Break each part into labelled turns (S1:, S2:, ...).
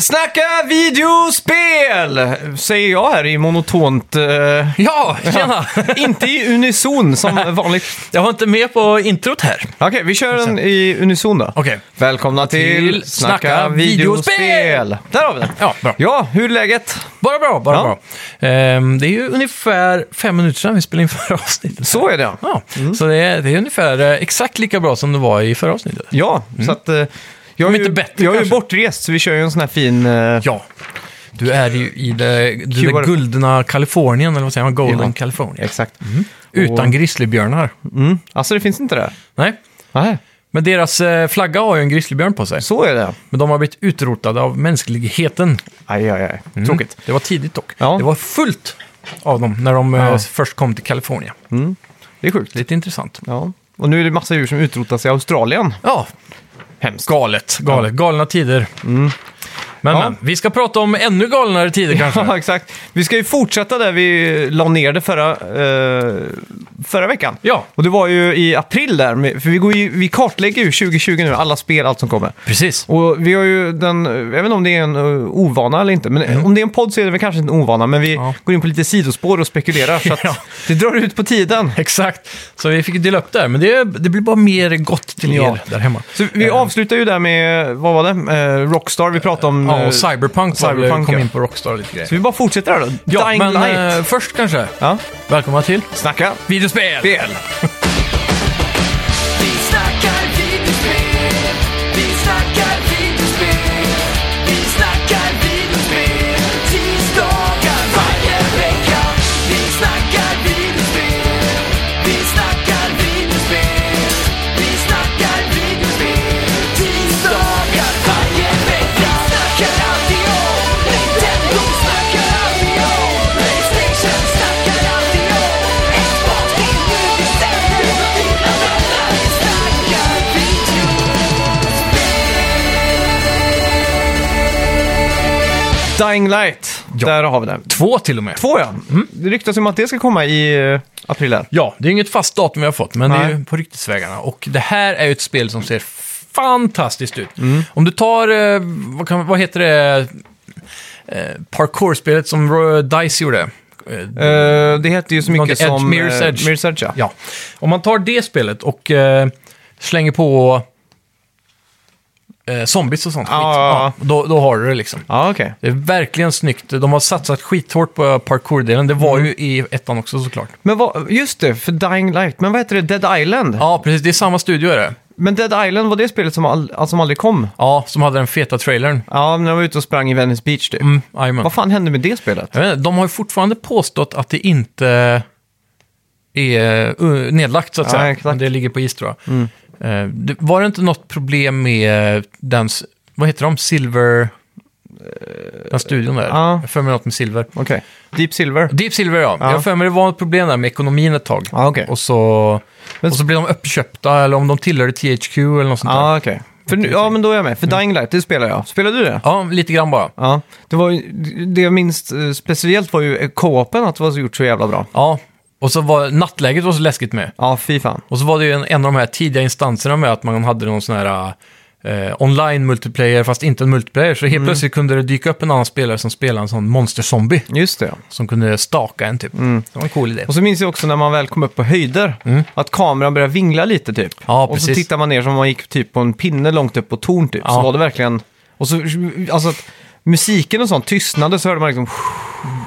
S1: Snacka videospel! Säger jag här i monotont... eh,
S2: Ja, tjena!
S1: inte i unison som vanligt.
S2: Jag var inte med på introt här.
S1: Okej, vi kör den i unison då.
S2: Okej.
S1: Välkomna till,
S2: Till
S1: Snacka,
S2: Snacka
S1: videospel!
S2: videospel!
S1: Där har vi den.
S2: Ja, bra.
S1: Ja, hur är läget?
S2: Bara bra, bara
S1: Ja.
S2: bra. Ehm, det är ju ungefär fem minuter sedan vi spelade in förra avsnittet.
S1: Så är det. ja.
S2: Ja, så det är, det är ungefär eh, exakt lika bra som det var i förra avsnittet.
S1: Ja, så att... eh, jag är,
S2: Om
S1: ju,
S2: Mm. inte bättre,
S1: jag är ju
S2: kanske.
S1: bortrest, så vi kör ju en sån här fin... eh,
S2: Ja. Du är ju i det, det
S1: QR.
S2: där guldna Kalifornien, eller vad säger man? Golden
S1: Ja.
S2: California.
S1: Exakt.
S2: Mm. Utan grizzlybjörnar.
S1: Mm. Alltså, det finns inte där.
S2: Nej.
S1: Nej,
S2: Men deras eh, flagga har ju en grizzlybjörn på sig.
S1: så är det.
S2: Men de har blivit utrotade av mänskligheten.
S1: Aj, aj, aj.
S2: Mm.
S1: Tråkigt.
S2: Det var tidigt dock.
S1: Ja.
S2: Det var fullt av dem när de eh,
S1: Ja.
S2: först kom till Kalifornien.
S1: Det är sjukt.
S2: Lite intressant.
S1: Ja. Och nu är det massa djur som utrotas i Australien.
S2: Ja,
S1: Hemskt.
S2: galet. galet. Galna tider. Men,
S1: Mm. Ja.
S2: men, vi ska prata om ännu galnare tider kanske.
S1: Ja, exakt. Vi ska ju fortsätta där vi la ner det förra, eh, förra veckan.
S2: Ja,
S1: Och det var ju i april där, med- för vi, går ju, vi kartlägger ju 2020 nu, alla spel, allt som kommer.
S2: precis.
S1: Och vi har ju den, jag vet inte om det är en eh, ovana eller inte, men om det är en podd så är det väl kanske inte en ovana, men vi
S2: Mm. Ja.
S1: går in på lite sidospår och spekulerar, så att
S2: Ja.
S1: det drar ut på tiden.
S2: Exakt. Så vi fick ju dela upp det här. Men det, det blir bara mer gott till
S1: Ja.
S2: er där hemma.
S1: Så vi avslutar ju där med, vad var det, eh, Rockstar vi pratade om.
S2: Ja,
S1: eh,
S2: och Cyberpunk, var väl-
S1: Cyberpunk,
S2: kom
S1: ja.
S2: in på Rockstar och lite grejer.
S1: Så vi bara fortsätter där då.
S2: Ja,
S1: Dying
S2: men
S1: Light.
S2: eh, först kanske.
S1: Ja,
S2: Välkomna till
S1: snacka
S2: videospel!
S1: spel.
S3: Vi snackar videospel, vi snackar videospel, vi snackar videospel, tisdagar varje vecka. Vi snackar videospel, vi snackar videospel, vi snackar videospel, tisdagar varje vecka. Vi snackar alltid om Nintendo, snackar alltid om Playstation, snackar alltid om Xbox, det är nu vi sänder och dina vänner. Vi snackar video.
S1: Dying Light,
S2: Ja. Mm.
S1: där har vi den.
S2: Två till och med.
S1: Två ja. Det ryktas om att det ska komma i eh, april här.
S2: Ja, det är inget fast datum vi har fått, men det är
S1: Nej.
S2: ju på ryktesvägarna. Och det här är ju ett spel som ser fantastiskt ut. Om du tar, eh, vad, kan, vad heter det, eh, parkour-spelet som Ro- DICE gjorde. Eh,
S1: Eh, det heter ju så mycket
S2: Något Edge,
S1: som...
S2: Mirror's
S1: eh,
S2: Edge.
S1: Mirror's Edge ja.
S2: Ja, om man tar det spelet och eh, slänger på eh, zombies och sånt
S1: Ja, ja,
S2: skit, då, då har du det liksom.
S1: Ja, okej.
S2: Det är verkligen snyggt. De har satsat skithårt på parkour-delen. Det var ju i ettan också såklart.
S1: Men vad, just det, för Dying Light. Men vad heter det? Dead Island?
S2: Ja, precis. Det är samma studio är det.
S1: Men Dead Island var det spelet som, all, alltså, som aldrig kom?
S2: Ja, som hade den feta trailern.
S1: Ja, när jag var ute och sprang i Venice Beach typ.
S2: Mm, jajamän.
S1: Vad fan hände med det spelet?
S2: Jag vet inte, de har ju fortfarande påstått att det inte är uh, nedlagt så att
S1: Ja,
S2: säga.
S1: exakt. Mm.
S2: Det ligger på is tror jag. Eh, det, var det inte något problem med den, s- vad heter de, Silver, den studion där?
S1: Eh, ja.
S2: Jag har för mig något med Silver.
S1: Okej. Deep Silver.
S2: Deep Silver ja, jag har för mig det var ett problem där med ekonomin ett tag.
S1: Ja, okej.
S2: Och, så,
S1: Men-
S2: och så blev de uppköpta eller om de tillhörde THQ eller något sånt där.
S1: Ja, okej. För nu- Ja, men då är jag med. För Dying Light, det spelar jag. Spelade du det?
S2: Mm. Ja, lite grann bara.
S1: Ja. Det, var, ju- det jag minns eh, speciellt var ju eh, co-open, att det var så gjort så jävla bra.
S2: Ja, och så var nattläget var så läskigt med.
S1: Ja, fy fan.
S2: Och så var det ju en, en av de här tidiga instanserna med att man hade någon sån här eh, online multiplayer fast inte en multiplayer. Så helt
S1: Mm.
S2: plötsligt kunde det dyka upp en annan spelare som spelade en sån monsterzombie
S1: Just det, ja.
S2: som kunde staka en typ.
S1: Mm.
S2: Det var en cool idé.
S1: Och så minns jag också när man väl kom upp på höjder, att kameran började vingla lite typ.
S2: Mm. Ja,
S1: och så
S2: precis.
S1: tittar man ner som om man gick typ på en pinne långt upp på torn typ. Så
S2: Ja.
S1: var det verkligen... Och så, alltså att musiken och sånt tystnade så hörde man liksom...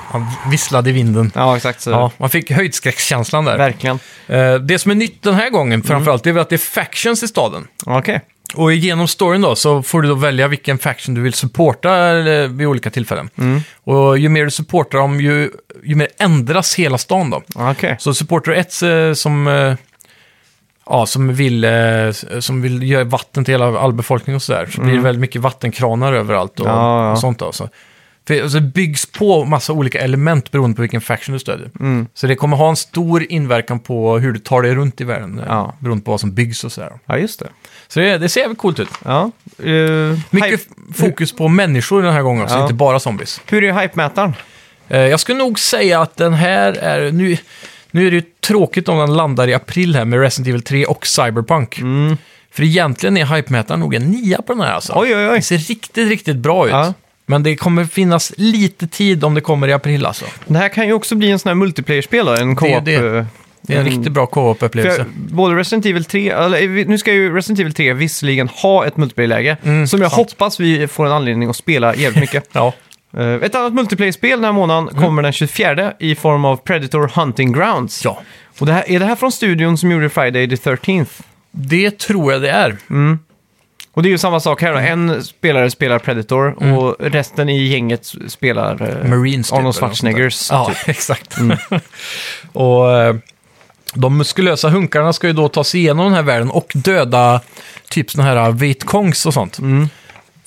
S2: Han visslade i vinden.
S1: Ja, exakt så.
S2: Ja, man fick höjdskräckskänslan där.
S1: Verkligen. Mm.
S2: Eh, det som är nytt den här gången framförallt det är väl att det är factions i staden.
S1: Okej.
S2: Och genom storyn då så får du då välja vilken faction du vill supporta eh, vid olika tillfällen.
S1: Mm.
S2: Och ju mer du supportar dem ju, ju mer ändras hela stan då.
S1: Okej.
S2: Så supporter 1 eh, som, eh, ja, som, vill, eh, som vill göra vatten till hela all befolkning och sådär, så blir det väldigt mycket vattenkranar överallt och,
S1: Mm. Ja, ja.
S2: och sånt. Då, så. För, och så byggs på massa olika element beroende på vilken faction du stödjer.
S1: Mm.
S2: Så det kommer ha en stor inverkan på hur du tar dig runt i världen, eh,
S1: Ja.
S2: beroende på vad som byggs och sådär.
S1: Ja, just det.
S2: Så det, det ser jävligt coolt ut.
S1: Ja. Eh,
S2: Mycket
S1: hype.
S2: f- fokus på människor den här gången också,
S1: Ja.
S2: inte bara zombies.
S1: Hur är hype-mätaren?
S2: Eh, Jag skulle nog säga att den här är... Nu, nu är det ju tråkigt om den landar i april här med Resident Evil 3 och Cyberpunk. För egentligen är hypemätaren nog en nia på den här alltså.
S1: Mm. Oj, oj, oj.
S2: Den ser riktigt, riktigt bra ut.
S1: Ja.
S2: Men det kommer finnas lite tid om det kommer i april alltså.
S1: Det här kan ju också bli en sån här multiplayer-spel då, en
S2: är
S1: co-op.
S2: det.
S1: eh,
S2: Det är en
S1: Mm.
S2: riktigt bra
S1: För
S2: co-op-upplevelse.
S1: jag, både Resident Evil 3, eller, nu ska ju Resident Evil 3 visserligen ha ett multiplayer-läge,
S2: Mm,
S1: som jag
S2: sant.
S1: hoppas vi får en anledning att spela jävligt mycket.
S2: Ja.
S1: Eh, ett annat multiplayer-spel den här månaden
S2: Mm.
S1: kommer den 24 i form av Predator Hunting Grounds.
S2: ja,
S1: Och det här, är det här från studion som gjorde Friday the 13th?
S2: det tror jag det är.
S1: Och det är ju samma sak här då.
S2: Mm.
S1: En spelare spelar Predator och resten i gänget spelar eh,
S2: Marines typ, eller
S1: Arnold
S2: något sånt där.
S1: Schwarzeneggers. typ. Mm.
S2: Ja, exakt. och eh, de muskulösa hunkarna ska ju då ta sig igenom den här världen och döda typ såna här vitkongs och sånt.
S1: Mm.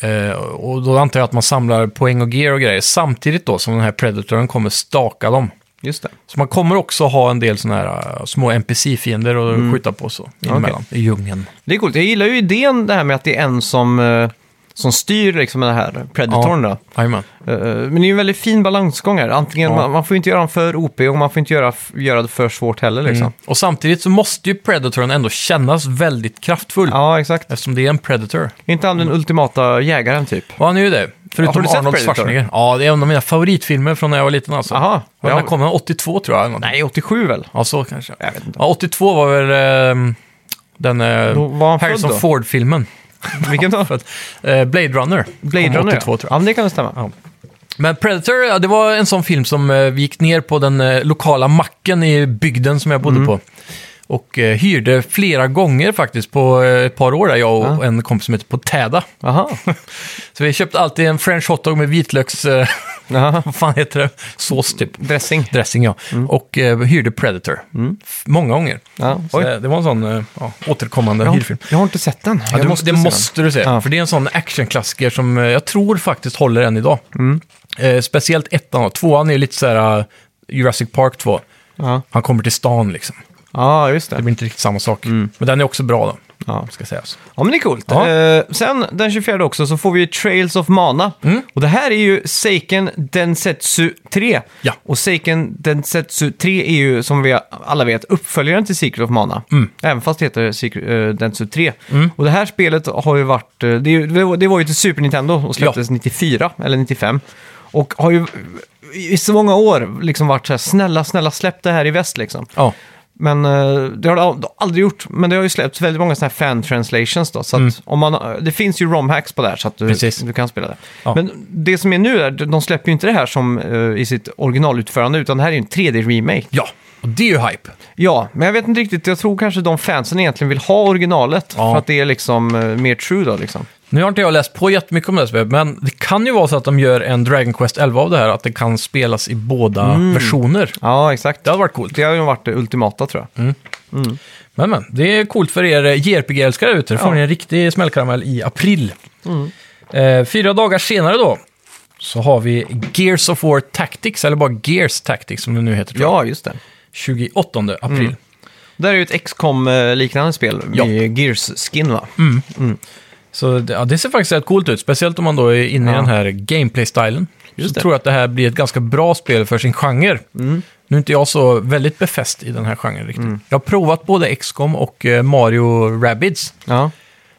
S2: Eh, och då antar jag att man samlar poäng och gear och grejer samtidigt då som den här predatoren kommer staka dem.
S1: Just det.
S2: Så man kommer också ha en del såna här eh, små NPC-fiender att
S1: Mm.
S2: skjuta på så, emellan, i djungeln.
S1: Det är coolt. Jag gillar ju idén det här med att det är en som, eh, som styr liksom den här Predatorn. Då.
S2: Jajamän.
S1: Eh, Men det är ju en väldigt fin balansgång här. Antingen,
S2: Ja.
S1: man, man får ju inte göra den för OP och man får inte göra, f- göra det för svårt heller liksom.
S2: Mm. Och samtidigt så måste ju Predatoren ändå kännas väldigt kraftfull.
S1: Ja, exakt.
S2: Eftersom det är en Predator.
S1: Är inte han den ultimata jägaren typ?
S2: Och han är ju det.
S1: Har
S2: Förutom
S1: du sett
S2: Arnold
S1: Predator?
S2: Schwarzenegger. Ja, det är en av mina favoritfilmer från när jag var liten alltså.
S1: Aha.
S2: Den här
S1: Ja,
S2: kom 82 tror jag. eller något.
S1: nej, 87 väl?
S2: Ja, så kanske.
S1: Jag vet inte.
S2: Ja, 82 var väl ehm, den eh,
S1: Då var han född
S2: Harrison
S1: då?
S2: Ford-filmen.
S1: Vilken då?
S2: För att, eh, Blade Runner.
S1: Blade
S2: kom
S1: Runner
S2: 82 tror jag.
S1: ja. men det kan det stämma.
S2: Ja. Men Predator, ja, det var en sån film som eh, vi gick ner på den eh, lokala macken i bygden som jag bodde
S1: Mm.
S2: på. Och eh, hyrde flera gånger faktiskt på eh, ett par år där, jag och
S1: Ja.
S2: en kompis som heter Potäda.
S1: Aha.
S2: Så vi köpte alltid en french hotdog med vitlöks... Eh,
S1: Aha.
S2: vad fan heter det? Sås typ.
S1: Dressing.
S2: Dressing ja. Och eh, hyrde Predator. F- Många gånger.
S1: Mm. Ja.
S2: Så,
S1: Oj.
S2: eh, det var en sån eh, ja, återkommande
S1: Jag, har,
S2: hyrfilm.
S1: jag har inte sett den.
S2: Ja,
S1: jag
S2: du, det
S1: se
S2: måste du se.
S1: Ja.
S2: För det är en sån actionklassiker som eh, jag tror faktiskt håller än idag.
S1: Mm.
S2: Eh, speciellt ettan. och Tvåan är ju lite så här eh, Jurassic Park 2.
S1: den. Ja,
S2: Han kommer till stan liksom.
S1: ja just det.
S2: Det blir inte riktigt samma sak. Men den är också bra då,
S1: Mm. Ja.
S2: ska sägas.
S1: Ja, men det är coolt.
S2: Ja.
S1: Eh, sen den 24 också så får vi ju Trails of Mana.
S2: Mm.
S1: Och det här är ju Seiken Densetsu 3.
S2: Ja.
S1: Och Seiken Densetsu 3 är ju, som vi alla vet, uppföljaren till Secret of Mana.
S2: Mm.
S1: Även fast det heter Secret, eh, Densetsu 3. Och det här spelet har ju varit... eh, Det, är ju- det var- det var ju till Super Nintendo och släpptes 94, eller 95. Och har ju i så många år liksom varit så här, snälla, snälla släpp det här i väst liksom.
S2: Ja,
S1: Men eh, det har det ald- aldrig gjort. Men det har ju släppts väldigt många sådana här fan-translations då. Så att om man, eh, det finns ju ROM-hacks på det här så att du,
S2: Mm. Precis.
S1: du kan spela det.
S2: Ja.
S1: Men det som är nu är, de släpper ju inte det här som eh, i sitt originalutförande, utan det här är ju en 3D-remake.
S2: ja. och det är ju hype.
S1: Ja, men jag vet inte riktigt. Jag tror kanske de fansen egentligen vill ha originalet.
S2: Ja.
S1: För att det är liksom eh, mer true då liksom.
S2: Nu har inte jag läst på jättemycket om det här spelet, men det kan ju vara så att de gör en Dragon Quest 11 av det här, att det kan spelas i båda
S1: Mm.
S2: versioner.
S1: Ja, exakt.
S2: Det hade varit Mm. coolt.
S1: Det har ju varit det ultimata tror jag.
S2: Men, men, det är coolt för er eh, JRPG-älskare ute. Då får
S1: Ja. Mm.
S2: ni en riktig smällkaramell i april. Eh, fyra dagar senare då, så har vi Gears of War Tactics, eller bara Gears Tactics som det nu heter, tror jag.
S1: Ja, just det.
S2: 28 april.
S1: Det här är ju ett XCOM eh, liknande spel
S2: Ja. Mm.
S1: med Gears-skin va?
S2: Så det, ja, det ser faktiskt rätt coolt ut, speciellt om man då är inne i
S1: Ja.
S2: den här gameplay-stilen. Så
S1: Just det. Mm.
S2: tror jag att det här blir ett ganska bra spel för sin genre. Nu är inte jag så väldigt befäst i den här genren riktigt. Jag har provat både XCOM och eh, Mario Rabbids.
S1: Ja.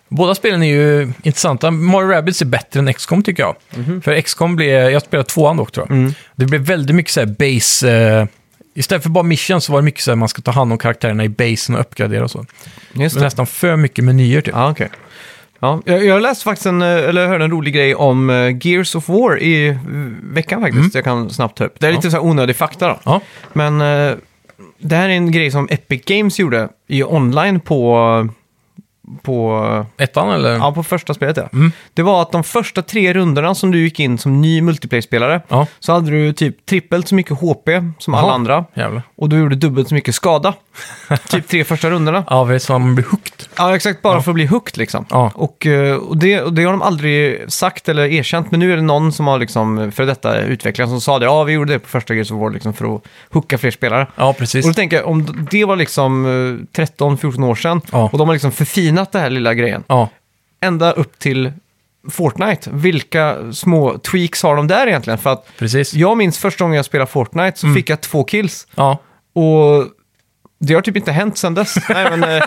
S2: Båda spelen är ju intressanta. Mario Rabbids är bättre än XCOM tycker jag.
S1: Mhm.
S2: För XCOM blev, jag spelade tvåan dock tror jag.
S1: Mm.
S2: Det blev väldigt mycket så här base... Eh, istället för bara mission så var det mycket så här man ska ta hand om karaktärerna i basen och uppgradera och så.
S1: Just
S2: Det var
S1: det.
S2: nästan för mycket menyer typ.
S1: Ja, okej. Ja, jag, jag läste faktiskt en, eh, eller hörde en rolig grej om eh, Gears of War i eh, veckan faktiskt. Jag kan snabbt ta upp. Det är lite så här onödig fakta då.
S2: Ja.
S1: Men eh, det här är en grej som Epic Games gjorde i online på, på,
S2: Ettan eller?
S1: ja, på första spelet. Ja. Det var att de första tre rundorna som du gick in som ny multiplayer-spelare
S2: Ja.
S1: så hade du typ trippelt så mycket HP som alla
S2: Jaha.
S1: andra.
S2: Jävlar.
S1: Och du gjorde dubbelt så mycket skada. typ tre första rundorna.
S2: Ja, för det är så man blir hooked.
S1: Ja, exakt. Bara för att bli hooked liksom.
S2: Ja.
S1: Och, eh, och, det, och det har de aldrig sagt eller erkänt, men nu är det någon som har liksom, för detta utvecklare som sa det. Ja, vi gjorde det på första Gears of War liksom, för att hooka fler spelare.
S2: Ja, precis.
S1: Och då tänker jag, om det var liksom eh, 13-14 år sedan
S2: Ja.
S1: och de har liksom förfinat den här lilla grejen
S2: Ja.
S1: ända upp till Fortnite. Vilka små tweaks har de där egentligen? För att
S2: Precis. Mm.
S1: jag minns första gången jag spelade Fortnite så fick jag två kills.
S2: Ja.
S1: Och Det har typ inte hänt sedan dess. Nej, men, eh,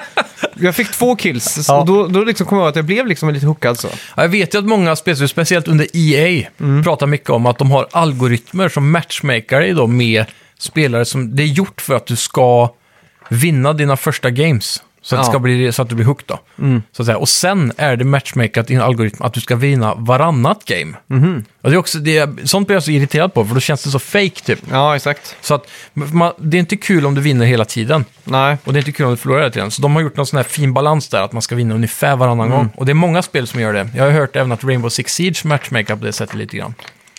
S1: jag fick två kills,
S2: Ja.
S1: och då, då liksom kom jag ihåg att jag blev liksom lite hookad så.
S2: Ja, Jag vet ju att många spelstudios, speciellt under EA, pratar mycket om att de har algoritmer som matchmaker dig då med spelare som det är gjort för att du ska vinna dina första games. Så att, det
S1: Ja.
S2: ska bli, så att du blir hooked då. Så att säga. Och sen är det matchmakat i en algoritm att du ska vinna varannat game. Och det är också, det, är- sånt blir jag så irriterad på, för då känns det så fake typ.
S1: Ja, exakt.
S2: Så att, man, det är inte kul om du vinner hela tiden.
S1: Nej.
S2: Och det är inte kul om du förlorar hela tiden. Så de har gjort någon sån här fin balans där, att man ska vinna ungefär varannan gång. Och det är många spel som gör det. Jag har hört även att Rainbow Six Siege matchmaker på det sättet lite grann.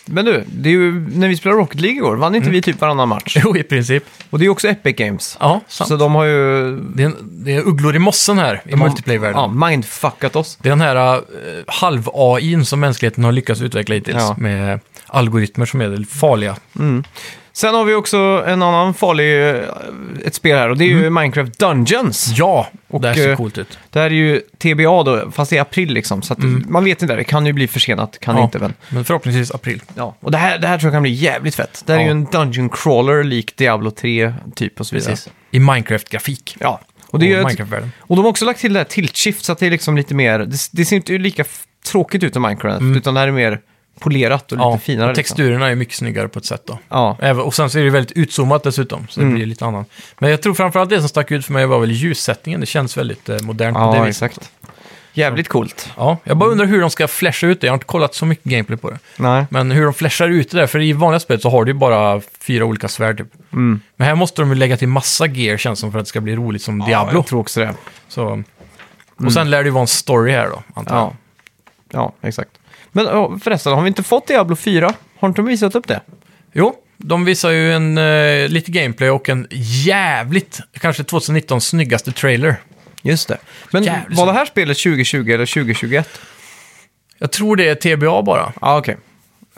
S1: Men du, det är ju, när vi spelade Rocket League igår, vann inte vi typ varannan match?
S2: Jo, i princip.
S1: Och det är ju också Epic Games.
S2: Mm. Ja, sant.
S1: Så de har ju...
S2: Det, är en, det är ugglor i mossen här, i multiplayer-världen.
S1: Ja, mindfuckat oss.
S2: Det är den här eh, halv-AIn som mänskligheten har lyckats utveckla hittills.
S1: Ja.
S2: Med algoritmer som är farliga.
S1: Sen har vi också en annan farlig... eh, Ett spel här, och det är
S2: Mm.
S1: ju Minecraft Dungeons.
S2: Ja, och, det här ser
S1: eh,
S2: coolt ut.
S1: Det här är ju TBA då, fast i april liksom. Så att man vet inte, det kan ju bli försenat, kan
S2: Mm. Ja,
S1: inte väl.
S2: men förhoppningsvis april.
S1: Ja. Och det här, det här tror jag kan bli jävligt fett. Det här är
S2: Ja.
S1: ju en Dungeon Crawler lik Diablo 3 typ och så vidare.
S2: Precis. I Minecraft-grafik.
S1: Ja. Och,
S2: Och,
S1: det är ju ett,
S2: Minecraft-världen.
S1: och de har också lagt till det här tilt-shift så att det är liksom lite mer, det, det ser inte lika f- tråkigt ut i Minecraft, utan det här är mer polerat Mm. och
S2: Ja,
S1: lite finare.
S2: och
S1: Liksom.
S2: texturerna är mycket snyggare på ett sätt då.
S1: Ja. Mm.
S2: Även, och sen så är det väldigt utzoomat dessutom, så det blir lite annan. Men jag tror framförallt det som stack ut för mig var väl ljussättningen. Det känns väldigt eh, modernt på det
S1: ja,
S2: viset.
S1: exakt. Jävligt coolt.
S2: Ja, jag bara undrar hur de ska flasha ut det. Jag har inte kollat så mycket gameplay på det.
S1: Nej.
S2: Men hur de flashar ut det där, för i vanliga spel så har du ju bara fyra olika svärd typ.
S1: Mm.
S2: Men här måste de ju lägga till massa gear känns som för att det ska bli roligt som Diablo.
S1: Jag tror också det.
S2: Så. Och sen lär det ju vara en story här då, antar jag.
S1: Ja. ja, exakt. Men ja, förresten, har vi inte fått Diablo 4? Har inte de visat upp det?
S2: Jo, de visar ju en, eh, lite gameplay och en jävligt, kanske 2019 snyggaste trailer.
S1: Just det. Men
S2: Jävligt
S1: var det här spelet 2020 eller 2021?
S2: Jag tror det är TBA bara.
S1: Ja, ah, okej.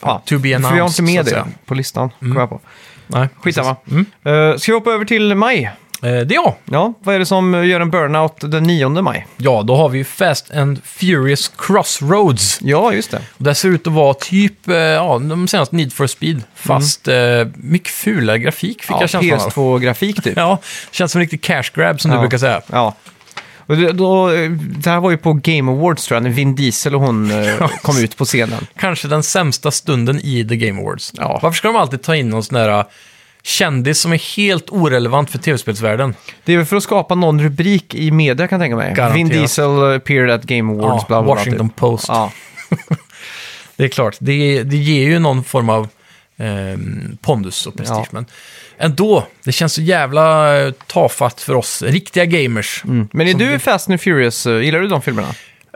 S1: Ja,
S2: to
S1: För
S2: be
S1: vi har inte
S2: announced,
S1: med
S2: så att
S1: det på listan, kom jag på.
S2: Nej,
S1: Skitsamma. Mm. ska vi hoppa över till maj?
S2: Eh, det ja.
S1: Ja, vad är det som gör en burnout den 9 maj?
S2: Ja, då har vi ju Fast and Furious Crossroads.
S1: Ja, just det.
S2: Och Det ser ut att vara typ, eh, ja, de senaste Need for Speed. Fast eh, mycket fulare grafik fick
S1: Mm. Ja,
S2: jag känslan av.
S1: PS2-grafik typ.
S2: Ja, känns som en riktig cash grab som du
S1: Ja.
S2: brukar säga.
S1: Ja. Och det, då, eh, det här var ju på Game Awards tror jag, när Vin Diesel och hon eh, kom ut på scenen.
S2: Kanske den sämsta stunden i The Game Awards.
S1: Ja.
S2: Varför ska de alltid ta in någon sån där eh, kändis som är helt orelevant för tv-spelsvärlden?
S1: Det är väl för att skapa någon rubrik i media kan jag tänka mig.
S2: Garanterat.
S1: Vin Diesel appeared at Game Awards,
S2: Ja,
S1: bla bla bla.
S2: Washington
S1: typ.
S2: Post.
S1: Ja,
S2: Det är klart, det, det ger ju någon form av ehm, pondus och prestige.
S1: Ja.
S2: Men ändå, det känns så jävla eh, tafatt för oss riktiga gamers.
S1: Mm. Men är du Fast and Furious, eh, gillar du de filmerna?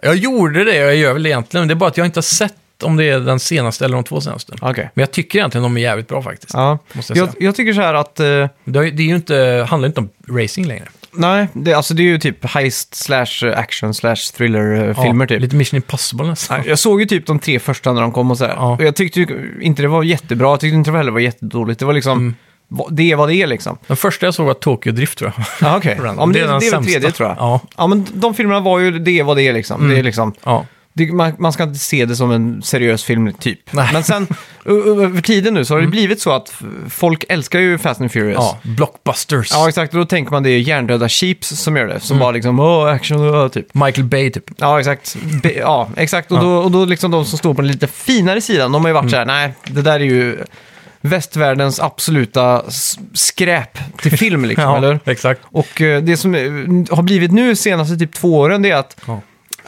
S2: Jag gjorde det, jag gör väl egentligen, men det är bara att jag inte har sett om det är den senaste eller de två senaste.
S1: Okej.
S2: Men jag tycker egentligen de är jävligt bra faktiskt.
S1: Ja.
S2: Måste jag
S1: Jag, jag, tycker så här att, eh,
S2: Det, har ju- det är ju inte, handlar inte om racing längre.
S1: nej, det, alltså det är ju typ heist slash action slash thriller eh, filmer typ.
S2: Lite Mission Impossible nästan.
S1: Nej, Jag såg ju typ de tre första när de kom och sådär.
S2: Ja.
S1: Och jag tyckte ju inte det var jättebra, jag tyckte inte det heller var jättedåligt. Det var liksom,
S2: Mm.
S1: va- det är vad det är liksom.
S2: Den första jag såg var Tokyo Drift tror jag.
S1: Ja, okej.
S2: Random.
S1: Ja, men det,
S2: Det är den
S1: det är väl
S2: sämsta.
S1: tredje tror jag.
S2: Ja. Mm.
S1: men de filmerna var ju det är vad det är liksom. Det är liksom
S2: ja.
S1: det, man, man ska inte se det som en seriös film typ.
S2: Nej. Mm.
S1: Men sen, ö- ö- över tiden nu så har det blivit så att f- folk älskar ju Fast and Furious.
S2: ja, Blockbusters.
S1: Ja, exakt. Och då tänker man det är hjärndöda sheeps som gör det. Som
S2: Mm.
S1: bara liksom, åh, action, åh, typ.
S2: Michael Bay typ.
S1: Ja, exakt. Be- ja, exakt. Och, Då, och då liksom de som står på den lite finare sidan, de har ju
S2: Mm.
S1: varit så här, nej, det där är ju västvärldens absoluta s- skräp till film, liksom, eller?
S2: exakt.
S1: Och eh, det som eh, har blivit nu senaste typ två åren, det är att,
S2: Ja.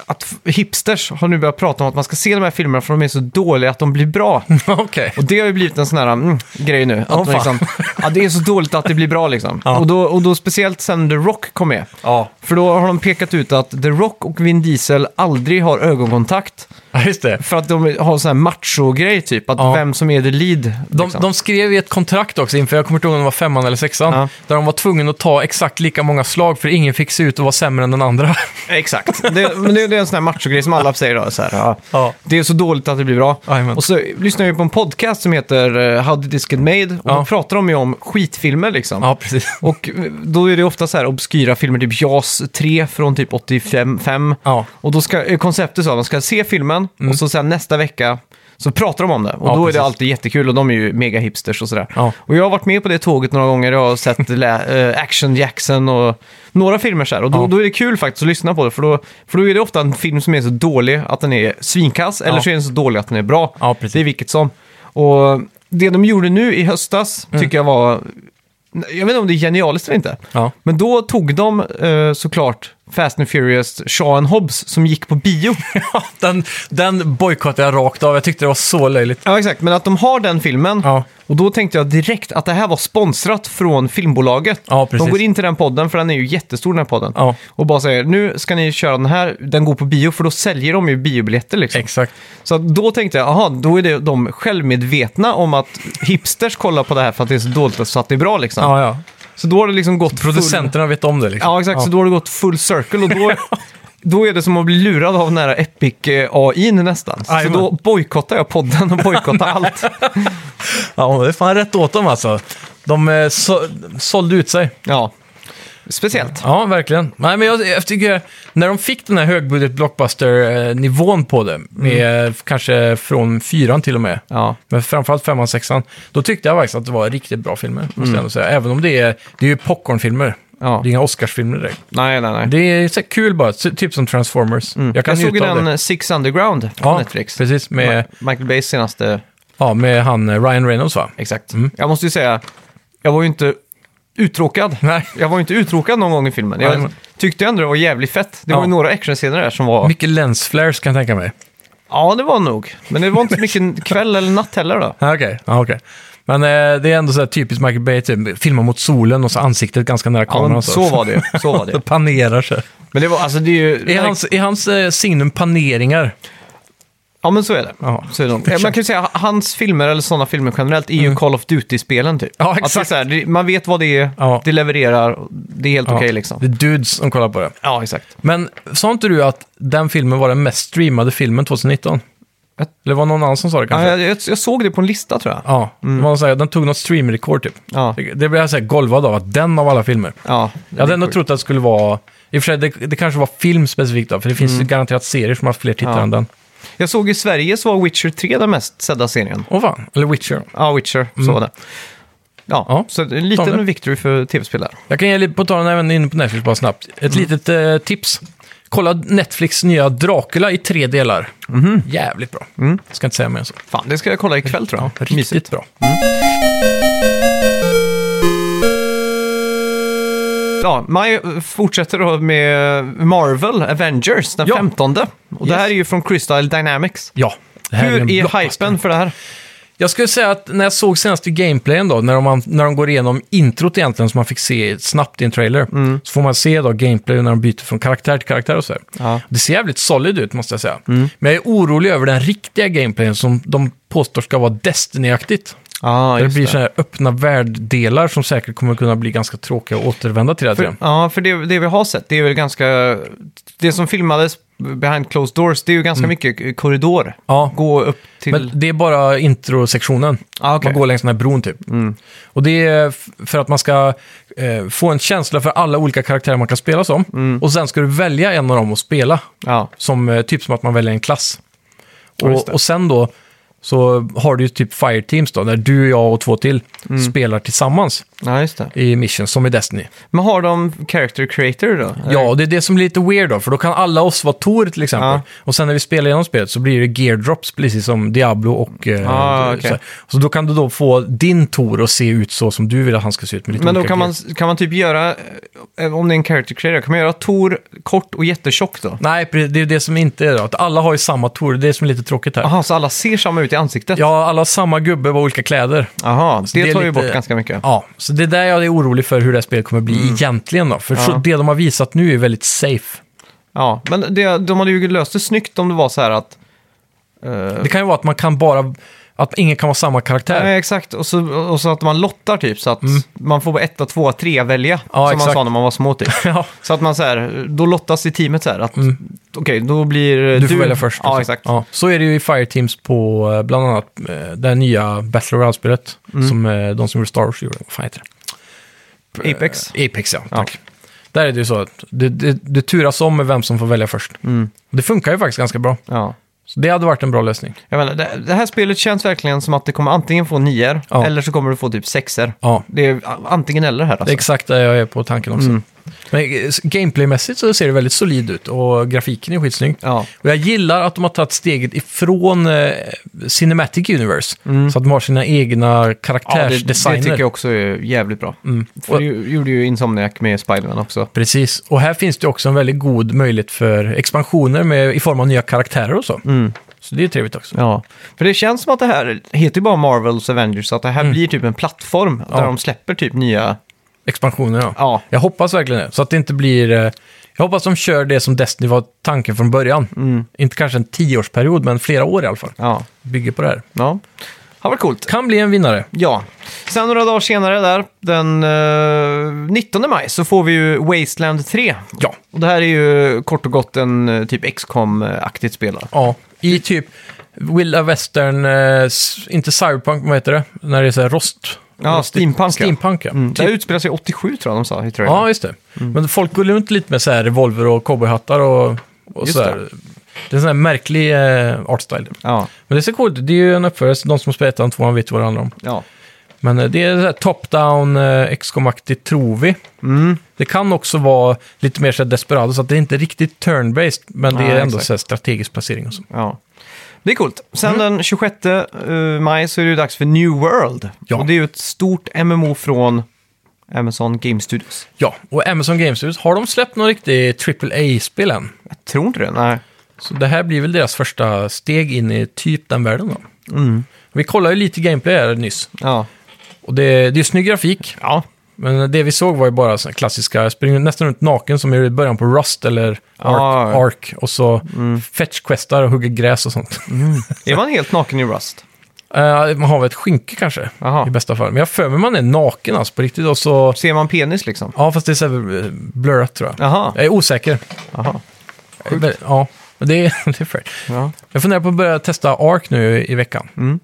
S1: att f- hipsters har nu börjat prata om att man ska se de här filmerna för de är så dåliga att de blir bra.
S2: Okej.
S1: Och det har ju blivit en sån här mm, grej nu. Att
S2: Åh,
S1: de
S2: fan.
S1: liksom, ja, det är så dåligt att det blir bra liksom.
S2: Ja.
S1: Och, då, och då speciellt sen The Rock kom med.
S2: Ja.
S1: För då har de pekat ut att The Rock och Vin Diesel aldrig har ögonkontakt.
S2: Ja, just det.
S1: För att de har sån här macho-grej typ, att
S2: Ja.
S1: vem som är the lead.
S2: De,
S1: liksom.
S2: de skrev i ett kontrakt också inför, jag kommer inte ihåg om det var femman eller sexan,
S1: Ja.
S2: där de var tvungna att ta exakt lika många slag för ingen fick se ut att vara sämre än den andra.
S1: Exakt. Det, men det, det är en sån här macho-grej som alla säger då. Så här, ja.
S2: Ja.
S1: Det är så dåligt att det blir bra.
S2: Jajamän.
S1: Och så lyssnar jag ju på en podcast som heter eh, How Did This Get Made? Och
S2: Ja.
S1: då pratar de ju om skitfilmer liksom.
S2: Ja, precis.
S1: Och eh, då är det ofta så här obskyra filmer, typ JAS 3 från typ 85. fem.
S2: Ja.
S1: eh,
S2: Mm.
S1: Och då ska, är konceptet så att man ska se filmen och så sen nästa vecka så pratar de om det. Och
S2: Ja,
S1: då är
S2: precis.
S1: det alltid jättekul och de är ju mega hipsters och sådär.
S2: Ja.
S1: Och jag har varit med på det tåget några gånger och har sett lä- eh, Action Jackson och några filmer så här. Och då,
S2: Ja.
S1: då är det kul faktiskt att lyssna på det, för då, för då är det ofta en film som är så dålig att den är svinkass, eller
S2: Ja.
S1: så är den så dålig att den är bra.
S2: Ja, precis.
S1: Det är vilket som. Och det de gjorde nu i höstas
S2: Mm.
S1: tycker jag var... Jag vet inte om det är genialiskt eller inte.
S2: Ja.
S1: Men då tog de eh, såklart Fast and Furious Shaw and Hobbs som gick på bio.
S2: Den, den bojkottade jag rakt av. Jag tyckte det var så löjligt.
S1: ja, exakt. Men att de har den filmen.
S2: Ja.
S1: Och då tänkte jag direkt att det här var sponsrat från filmbolaget.
S2: Ja, precis.
S1: De går in till den podden, för den är ju jättestor den här podden.
S2: Ja.
S1: Och bara säger, nu ska ni köra den här, den går på bio, för då säljer de ju biobiljetter liksom.
S2: Exakt.
S1: Så att då tänkte jag, aha, då är det de självmedvetna om att hipsters kollar på det här för att det är så dåligt så att det är bra liksom.
S2: Ja, ja.
S1: Så då har det liksom gått full...
S2: Producenterna vet om det liksom.
S1: Ja, exakt. Så då har det gått full circle och då, då är det som att bli lurad av den här Epic eh, AI nästan. Så
S2: Jajamän.
S1: då bojkottar jag podden och bojkottar allt.
S2: Ja, det är fan rätt åt dem alltså. De eh, så, sålde ut sig.
S1: Ja, speciellt.
S2: Ja, verkligen. Nej, men jag, jag tycker, när de fick den här högbudget blockbuster-nivån på det, med eh, kanske från fyran till och med,
S1: Mm. Ja,
S2: men framförallt femman, sexan, då tyckte jag faktiskt att det var riktigt bra filmer, måste jag ändå säga. Även om det är, det är ju popcornfilmer.
S1: Mm. Ja.
S2: Det är inga Oscarsfilmer direkt.
S1: nej, nej, nej.
S2: Det är så här kul bara, så- typ som Transformers. Jag
S1: Jag,
S2: kan
S1: såg ju
S2: njuta av
S1: den
S2: det.
S1: eh, Six Underground på
S2: Ja,
S1: Netflix.
S2: precis. Med,
S1: Ma- Michael Bays senaste,
S2: ja, med han eh, Ryan Reynolds va?
S1: exakt. Jag måste ju säga, jag var ju inte uttråkad.
S2: Nej.
S1: Jag var ju inte uttråkad någon gång i filmen. Jag
S2: Nej, men-
S1: tyckte ändå det var jävligt fett. Det var
S2: Ja.
S1: ju några actionscener där som var...
S2: Mycket lensflares kan jag tänka mig.
S1: Ja, det var nog. Men det var inte så mycket kväll eller natt heller då.
S2: Ja, Okej, ja, okej. Men eh, det är ändå så här typiskt Michael Bay, typ, filma mot solen och så ansiktet ganska nära
S1: Ja,
S2: kameran.
S1: men
S2: och
S1: så var det. Så var det.
S2: Det panerar sig.
S1: Men det var, alltså det är ju...
S2: Är hans, är hans eh, signum paneringar?
S1: Ja, men så är det.
S2: Ja.
S1: Så är det nog. Ja, Man kan ju säga hans filmer, eller sådana filmer generellt, är ju Call of Duty-spelen typ.
S2: Mm. Ja,
S1: Att det är
S2: exakt.
S1: så här, det, man vet vad det är,
S2: Ja.
S1: det levererar, det är helt okej
S2: Det
S1: liksom.
S2: är dudes som kollar på det.
S1: Ja, exakt.
S2: Men sa inte du att den filmen var den mest streamade filmen 2019?
S1: Ett-
S2: Eller var det någon annan som sa det
S1: Ja,
S2: kanske?
S1: jag, jag, jag såg det på en lista tror jag.
S2: Ja, det var så här, den tog något streamrekord typ.
S1: Ja.
S2: Det det blev jag så här golvad av, att den av alla filmer.
S1: Ja,
S2: Jag hade ändå trott att det skulle vara... I och för sig, det, det kanske var film specifikt då, för det finns ju garanterat serier som har haft fler tittare
S1: Mm. Ja.
S2: än den.
S1: jag såg i Sverige så var Witcher 3 den mest sedda serien.
S2: Åh fan, eller Witcher.
S1: Ja, Witcher, så var det. Ja,
S2: Mm. Ja.
S1: så en
S2: Tommy.
S1: liten victory för tv-spel där.
S2: Jag kan ge lite på tal även inne på Netflix bara snabbt. Ett litet eh, tips. Kolla Netflix nya Dracula i tre delar. Jävligt bra. Ska inte säga mer än så.
S1: Fan, det ska jag kolla ikväll tror jag.
S2: Ja, riktigt
S1: Mysigt.
S2: bra.
S1: Ja, maj fortsätter då med Marvel Avengers den
S2: Ja.
S1: 15. Och det här
S2: Yes.
S1: är ju från Crystal Dynamics.
S2: Ja. det här en
S1: Hur är
S2: blockbuster.
S1: hypen för det här?
S2: Jag skulle säga att när jag såg senaste gameplayen då, när de, när de går igenom introt egentligen som man fick se snabbt i en trailer, så får man se då gameplay när de byter från karaktär till karaktär och så här.
S1: Ja.
S2: Det ser jävligt solid ut måste jag säga. Men jag är orolig över den riktiga gameplayen som de påstår ska vara Destiny-aktigt.
S1: Ja,
S2: Där det
S1: just
S2: blir
S1: det.
S2: så här öppna världdelar som säkert kommer kunna bli ganska tråkiga och återvända till. Det,
S1: För,
S2: här.
S1: ja, för det, det vi har sett, det är väl ganska... Det som filmades behind closed doors, det är ju ganska mycket korridor.
S2: Mm. Ja.
S1: Gå upp till...
S2: Men det är bara introsektionen.
S1: Ah, okej. Mm.
S2: Man går längs den här bron typ. Och det är f- för att man ska eh, få en känsla för alla olika karaktärer man kan spela som.
S1: Mm.
S2: Och sen ska du välja en av dem att spela.
S1: Ja,
S2: Som, eh, typ som att man väljer en klass.
S1: just
S2: Och,
S1: det.
S2: och sen då så har du ju typ fireteams då, där du, jag och två till
S1: Mm.
S2: spelar tillsammans
S1: ja, just det.
S2: i missions, som i Destiny.
S1: Men har de character creator då? Eller?
S2: Ja, och det är det som blir lite weird då, för då kan alla oss vara Tor till exempel.
S1: Ja.
S2: Och sen när vi spelar igenom spelet så blir det gear drops, precis som Diablo och... Eh,
S1: Ah,
S2: så-
S1: okej.
S2: så, här. så då kan du då få din Tor att se ut så som du vill att han ska se ut med lite
S1: Men då
S2: olika
S1: kan man,
S2: gear.
S1: kan man typ göra, eh, om det är en character creator, kan man göra Tor kort och jättetjock då?
S2: Nej, pre- det är det som inte är då. Att alla har ju samma Tor, det är det som är lite tråkigt här.
S1: Jaha, så alla ser samma ut i ansiktet?
S2: Ja, alla har samma gubbe, bara olika kläder.
S1: Jaha, det,
S2: det är
S1: tar ju
S2: lite-
S1: bort ganska mycket.
S2: Ja, så det är där jag är orolig för hur det här spelet kommer bli egentligen då. För så,
S1: Mm. Ja.
S2: det de har visat nu är väldigt safe.
S1: Ja, men det, de hade ju löst det snyggt om det var så här att... eh,
S2: Det kan ju vara att man kan bara... Att ingen kan vara samma karaktär.
S1: Nej, exakt. Och så, och så att man lottar typ, så att man får bara etta, tvåa, trea välja. som
S2: Mm. exakt.
S1: man sa när man var små typ.
S2: Ja.
S1: Så att man så här, då lottas i teamet så här att, okej, då blir eh,
S2: Mm. Du får välja först.
S1: Ja,
S2: liksom.
S1: exakt.
S2: Ja, så är det ju i Fireteams på eh, bland annat eh, det här nya Battle Royale-spelet. Som eh, de som gjorde Star Wars gjorde. Vad fan heter det?
S1: Apex.
S2: Eh, Apex, ja. Tack. Där är Mm. det ju så att det, det, det turas om med vem som får välja först. Det funkar ju faktiskt ganska bra.
S1: Ja.
S2: Så det hade varit en bra lösning.
S1: Jag menar, det, det här spelet känns verkligen som att det kommer antingen få nior
S2: Ja.
S1: eller så kommer du få typ sexer.
S2: Ja,
S1: Det är a- antingen eller här
S2: det är
S1: alltså.
S2: exakt där jag är på tanken också. Men eh, s- gameplaymässigt så ser det väldigt solid ut och grafiken är skitsnygg.
S1: Ja,
S2: Och jag gillar att de har tagit steget ifrån eh, Cinematic Universe. Så att de har sina egna
S1: ja det, det
S2: karaktärsdesigner.
S1: tycker jag också är jävligt bra. För
S2: Och-
S1: det ju- gjorde ju Insomniac med Spiderman också.
S2: Precis, och här finns det också en väldigt god möjlighet för expansioner med, i form av nya karaktärer och så. Så det är trevligt också.
S1: Mm. Ja, för det känns som att det här heter ju bara Marvels Avengers, så att det här blir typ en plattform
S2: Mm. Ja.
S1: där de släpper typ nya...
S2: Expansioner, ja.
S1: Ja,
S2: Jag hoppas verkligen det, så att det inte blir... eh, Jag hoppas de kör det som Destiny var tanken från början.
S1: Mm.
S2: Inte kanske en tioårsperiod, men flera år i alla fall.
S1: ja,
S2: Bygger på det här.
S1: ja. Har varit coolt.
S2: Kan bli en vinnare.
S1: Ja, sen några dagar senare där, den eh, 19 maj, så får vi ju Wasteland 3.
S2: Ja.
S1: Och det här är ju kort och gott en eh, typ xcom aktigt spel. då.
S2: Ja, i typ Willa Western, eh, s- inte Cyberpunk, vad heter det? När det är så här rost.
S1: Ja,
S2: rost-
S1: steampunk, ja.
S2: Steampunk, ja.
S1: Mm. Det här
S2: Typ.
S1: utspelar sig 87 tror jag de sa i trailern.
S2: Ja, just det.
S1: Mm.
S2: Men folk går runt lite med så här revolver och cowboyhattar och, och
S1: Just
S2: så här. Det är en sån här märklig eh, artstyle.
S1: ja.
S2: Men det ser coolt ut. Det är ju en uppföljare, så de som har spelat den tvåan vet vad det handlar om.
S1: ja.
S2: Men eh, det är så här top-down, eh, XCOM-aktigt tror vi.
S1: Mm.
S2: Det kan också vara lite mer så här desperado, så att det är inte riktigt turn-based, men det
S1: Nej,
S2: är ändå
S1: exakt.
S2: så här strategisk placering och så.
S1: Ja. Det är coolt. Sen
S2: Mm.
S1: den 26 eh, maj så är det ju dags för New World.
S2: Ja.
S1: Och det är ju ett stort MMO från Amazon Game Studios.
S2: Ja, och Amazon Games Studios, har de släppt någon riktig AAA-spel än?
S1: Jag tror inte det. Nej.
S2: Så det här blir väl deras första steg in i typ den världen då.
S1: Mm.
S2: Vi kollade ju lite gameplay här nyss.
S1: Ja.
S2: Och det, det är snygg grafik,
S1: Ja.
S2: men det vi såg var ju bara såna klassiska, springer nästan runt naken som är i början på Rust eller Ark,
S1: Ja, Ah, ja. Mm.
S2: Ark och så fetch-questar och hugger gräs och sånt.
S1: Är man helt naken i Rust?
S2: Eh, man har väl ett skynke kanske,
S1: Jaha.
S2: i bästa fall. Men jag har för mig man är naken alltså på riktigt och så...
S1: Ser man penis liksom?
S2: Ja, fast det är så här eh, blurrat tror jag.
S1: Jaha.
S2: Jag är osäker.
S1: Jaha.
S2: Men- Ja, men det är, det är fair.
S1: Ja.
S2: Jag funderar på att börja testa Ark nu i veckan.
S1: Mm.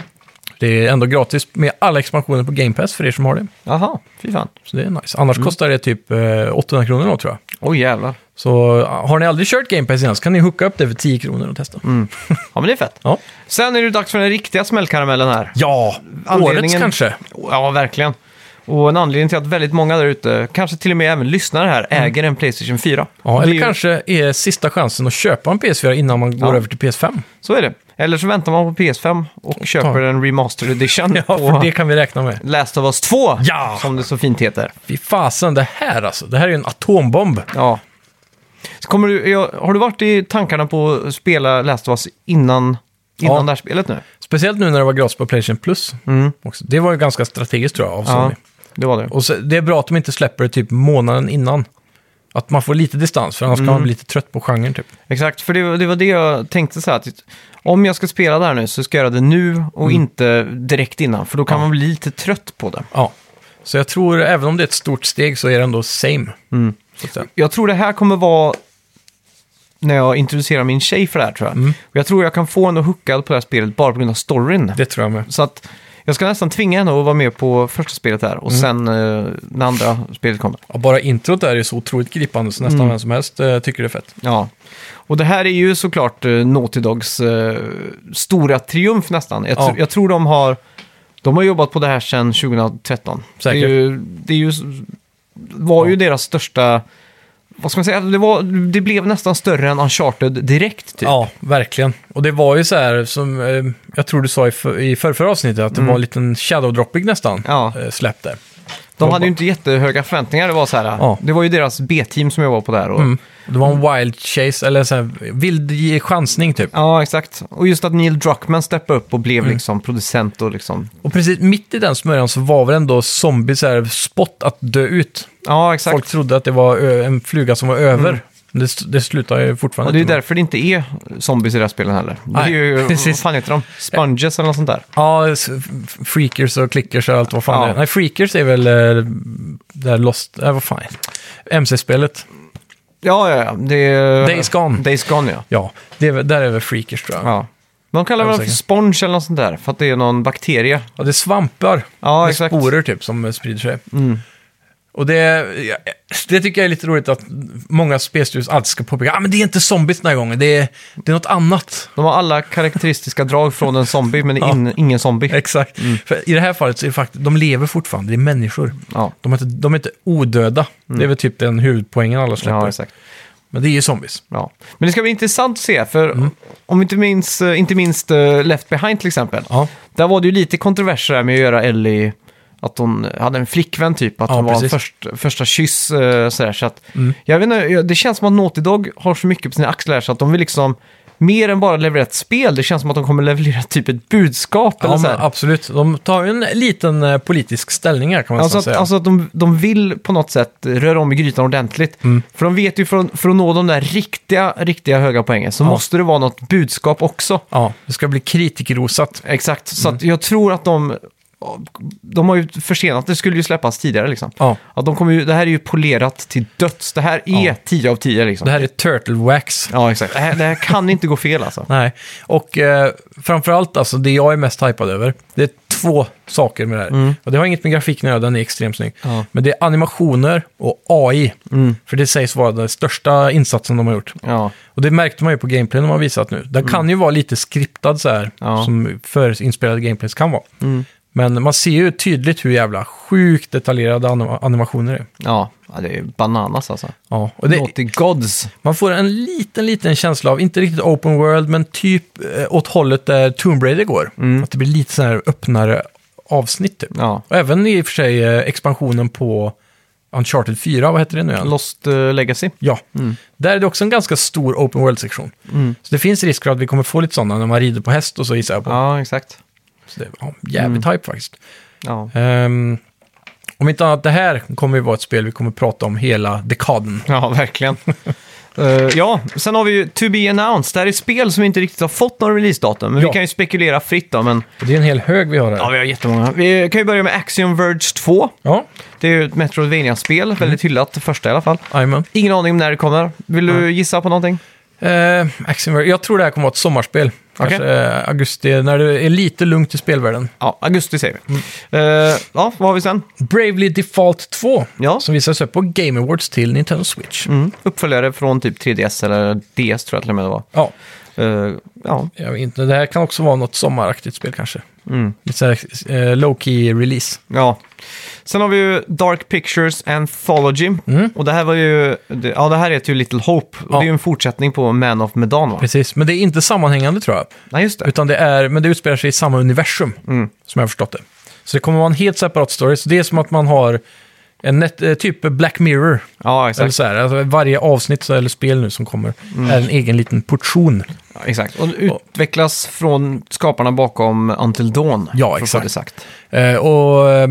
S2: Det är ändå gratis med alla expansioner på Game Pass för er som har det.
S1: Jaha. Fy fan.
S2: Så det är nice. Annars
S1: Mm.
S2: kostar det typ eh, 800 kronor då, tror jag.
S1: Oj jävlar.
S2: Så eh, har ni aldrig kört Game Pass innan så kan ni hooka upp det för 10 kronor och testa.
S1: Ja men det är fett.
S2: Ja.
S1: Sen är det dags för den riktiga smällkaramellen här.
S2: ja, årets
S1: Anledningen-
S2: kanske.
S1: Ja, verkligen. Och en anledning till att väldigt många där ute, kanske till och med även lyssnare här, äger en Playstation 4.
S2: Mm. Ja,
S1: Det
S2: eller
S1: är ju-
S2: kanske är sista chansen att köpa en PS4 innan man går
S1: Ja.
S2: över till PS5.
S1: Så är det. Eller så väntar man på PS5 och köper en remastered edition
S2: Ja, för
S1: på
S2: det kan vi räkna med.
S1: Last of Us 2,
S2: Ja!
S1: som det så fint heter.
S2: Fy fasen, det här alltså. Det här är ju en atombomb.
S1: Ja. Så kommer du, ja, har du varit i tankarna på att spela Last of Us innan, innan
S2: Ja.
S1: det här spelet nu?
S2: Speciellt nu när det var gratis på Playstation Plus.
S1: Mm.
S2: Också. Det var ju ganska strategiskt tror jag av Sony.
S1: det var det.
S2: Och så, det är bra att de inte släpper det typ månaden innan. Att man får lite distans, för annars kan
S1: Mm.
S2: man bli lite trött på genren typ.
S1: Exakt, för det, var- det var det jag tänkte så här, att om jag ska spela det här nu så ska jag göra det nu och
S2: Mm.
S1: inte direkt innan, för då kan man bli lite trött på det.
S2: Ja. Så jag tror, även om det är ett stort steg, så är det ändå same.
S1: Mm.
S2: Så att säga.
S1: Jag tror det här kommer vara när jag introducerar min tjej för det här tror jag. Och jag tror jag kan få henne hookad på det här spelet bara på grund av storyn.
S2: Det tror jag med.
S1: Så att jag ska nästan tvinga henne att vara med på första spelet där och sen eh, när andra spelet kommer.
S2: Ja, bara introt där är så otroligt gripande, så
S1: Mm.
S2: nästan vem som helst eh, tycker det är fett.
S1: Ja. Och det här är ju såklart eh, Naughty Dogs eh, stora triumf nästan. Jag, tr-
S2: Ja.
S1: jag tror de har, de har jobbat på det här sedan 2013.
S2: Säkert.
S1: Det, är ju, det är ju, s- var ju deras största, vad ska man säga, det, var, det blev nästan större än Uncharted direkt. Typ.
S2: Ja, verkligen. Och det var ju så här, som eh, jag tror du sa i, för, i förrförra avsnittet, att det var en liten shadow dropping nästan,
S1: Mm. Ja.
S2: eh, släpp där.
S1: De hade ju inte jättehöga förväntningar. Det var, så här,
S2: Ja.
S1: det var ju deras B-team som jobbade på det här. Och,
S2: Mm. Det var en wild chase, eller så här, vild ge- chansning typ.
S1: Ja, exakt. Och just att Neil Druckmann steppade upp och
S2: Mm.
S1: blev liksom producent och liksom...
S2: Och precis mitt i den smörjan så var väl ändå zombies så här spott att dö ut.
S1: Ja, exakt.
S2: Folk trodde att det var ö- en fluga som var över. Men Det, det slutar ju
S1: Och
S2: fortfarande
S1: det är
S2: inte med.
S1: därför det inte är zombies i det här spelen heller. Det är
S2: Nej,
S1: ju,
S2: precis.
S1: vad fan heter de? Sponges eller något sånt där.
S2: Ja, s- f- freakers och clickers och allt vad fan
S1: Ja.
S2: det är. Nej, freakers är väl eh, där Lost... Eh, vad fan är det? MC-spelet.
S1: Ja, ja, ja. Det är,
S2: Days Gone.
S1: Days Gone, ja.
S2: Ja, det är, väl- där är väl freakers tror jag. Ja,
S1: ja. De kallar
S2: Jag
S1: väl
S2: är
S1: för
S2: säker.
S1: sponge eller något sånt där, för att det är någon bakterie.
S2: det är svampar
S1: Ja,
S2: med
S1: exakt. Mm.
S2: sporer typ som eh, sprider sig. Och det, det tycker jag är lite roligt att många spelstudios alltid ska påpeka ah, men det är inte zombies den här gången, det är, det är något annat.
S1: De har alla karaktäristiska drag från en zombie, men in, ingen zombie.
S2: Exakt. För I det här fallet så är det faktiskt, de lever fortfarande, det är människor.
S1: Ja, Mm.
S2: De är inte, de är inte odöda. Det är väl typ den huvudpoängen alla släpper.
S1: ja exakt.
S2: Men det är ju zombies.
S1: Ja. Men det ska bli intressant att se, för om vi inte minns, eh, inte minst eh, Left Behind till exempel.
S2: Ja.
S1: Där var det ju lite kontroverser där med att göra Ellie, att hon hade en flickvän typ, att
S2: Ja,
S1: hon var en
S2: precis.
S1: först, första kyss eh, sådär. Så att,
S2: Mm.
S1: jag vet inte, jag- det känns som att Naughty Dog har så mycket på sina axlar här, så att de vill liksom mer än bara leverera ett spel, det känns som att de kommer leverera typ ett budskap eller
S2: Ja,
S1: så
S2: men
S1: här.
S2: absolut. De tar ju en liten eh, politisk ställning här kan man
S1: Alltså
S2: nästan
S1: att, alltså
S2: säga.
S1: att de, de vill på något sätt röra om i grytan ordentligt.
S2: Mm.
S1: För de vet ju från, för att nå de där riktiga, riktiga höga poängen så
S2: Ja.
S1: måste det vara något budskap också.
S2: Ja, det ska bli kritikerrosat.
S1: Exakt, så att
S2: Mm.
S1: jag tror att de... De har ju försenat, det skulle ju släppas tidigare liksom.
S2: Ja.
S1: Att de kommer ju, det här är ju polerat till döds. Det här är
S2: Ja.
S1: 10 av 10 liksom.
S2: Det här är Turtle Wax.
S1: Ja, exakt. Det här, det här kan inte gå fel alltså.
S2: Nej, och eh, framförallt alltså det jag är mest hypad över, det är två saker med det här. Och det har inget med grafiken att göra, den är extremt snygg.
S1: Mm. Ja. Mm.
S2: Men det är animationer och AI, för det sägs vara den största insatsen de har gjort.
S1: Ja,
S2: Och det märkte man ju på gameplayen de har visat nu. Den kan ju vara lite skriptad så här,
S1: Mm. Ja. Mm.
S2: som förinspelade gameplays kan vara. Men man ser ju tydligt hur jävla sjukt detaljerade anim- animationer är.
S1: ja. ja det är bananas alltså.
S2: Ja, och det,
S1: Naughty Gods.
S2: man får en liten, liten känsla av, inte riktigt open world, men typ eh, åt hållet där Tomb Raider går. Att det blir lite så här öppnare avsnitt typ.
S1: Mm. Ja.
S2: Och även i och för sig eh, expansionen på Uncharted 4, vad heter det nu igen?
S1: Lost eh, Legacy.
S2: Ja, där är det också en ganska stor open world-sektion. Så det finns risk för att vi kommer få lite sådana när man rider på häst och så gissar jag på.
S1: Ja, exakt.
S2: Så det är ja, jävligt hype faktiskt.
S1: Ja.
S2: Ehm, om inte annat, det här kommer ju vara ett spel vi kommer prata om hela dekaden.
S1: Ja, verkligen. Eh, ja, sen har vi ju To Be Announced. Det här är spel som inte riktigt har fått någon releasedatum. Men
S2: Ja.
S1: vi kan ju spekulera fritt då. Men
S2: Och det är en hel hög vi har här.
S1: ja, vi har jättemånga. Vi kan ju börja med Axiom Verge 2.
S2: Ja,
S1: Det är ju ett Metroidvania-spel.
S2: Mm.
S1: Väldigt hyllat, det första i alla fall.
S2: jajamän.
S1: Ingen aning om när det kommer. Vill du gissa på någonting?
S2: Eh, Axiom Verge. Jag tror det här kommer vara ett sommarspel. Kanske
S1: Okej.
S2: eh, augusti, när det är lite lugnt i spelvärlden.
S1: Ja, augusti säger
S2: Mm.
S1: vi. Eh, ja, vad har vi sen?
S2: Bravely Default 2,
S1: Ja.
S2: som visas upp på Game Awards till Nintendo Switch.
S1: Mm. Uppföljare från typ 3DS eller DS tror jag till och med det var.
S2: Ja,
S1: Eh, ja,
S2: jag vet inte. Det här kan också vara något sommaraktigt spel kanske.
S1: Mm.
S2: Lite så här, eh, low-key release.
S1: ja. Sen har vi ju Dark Pictures Anthology. Och det här var ju... det- Ja, det här heter ju Little Hope. Och
S2: Mm. Ja.
S1: det är ju en fortsättning på Man of Medan, va?
S2: Precis, men det är inte sammanhängande tror jag.
S1: Nej, just det.
S2: Utan det är, men det utspelar sig i samma universum,
S1: Mm.
S2: som jag har förstått det. Så det kommer vara en helt separat story. Så det är som att man har en net, eh, typ Black Mirror.
S1: Ja,
S2: Eller
S1: exakt.
S2: så här, alltså varje avsnitt så- eller spel nu som kommer
S1: Mm.
S2: är en egen liten portion.
S1: Ja, exakt. Och utvecklas från skaparna bakom Until Dawn.
S2: Ja,
S1: för att få
S2: exakt.
S1: det sagt.
S2: Eh, och eh,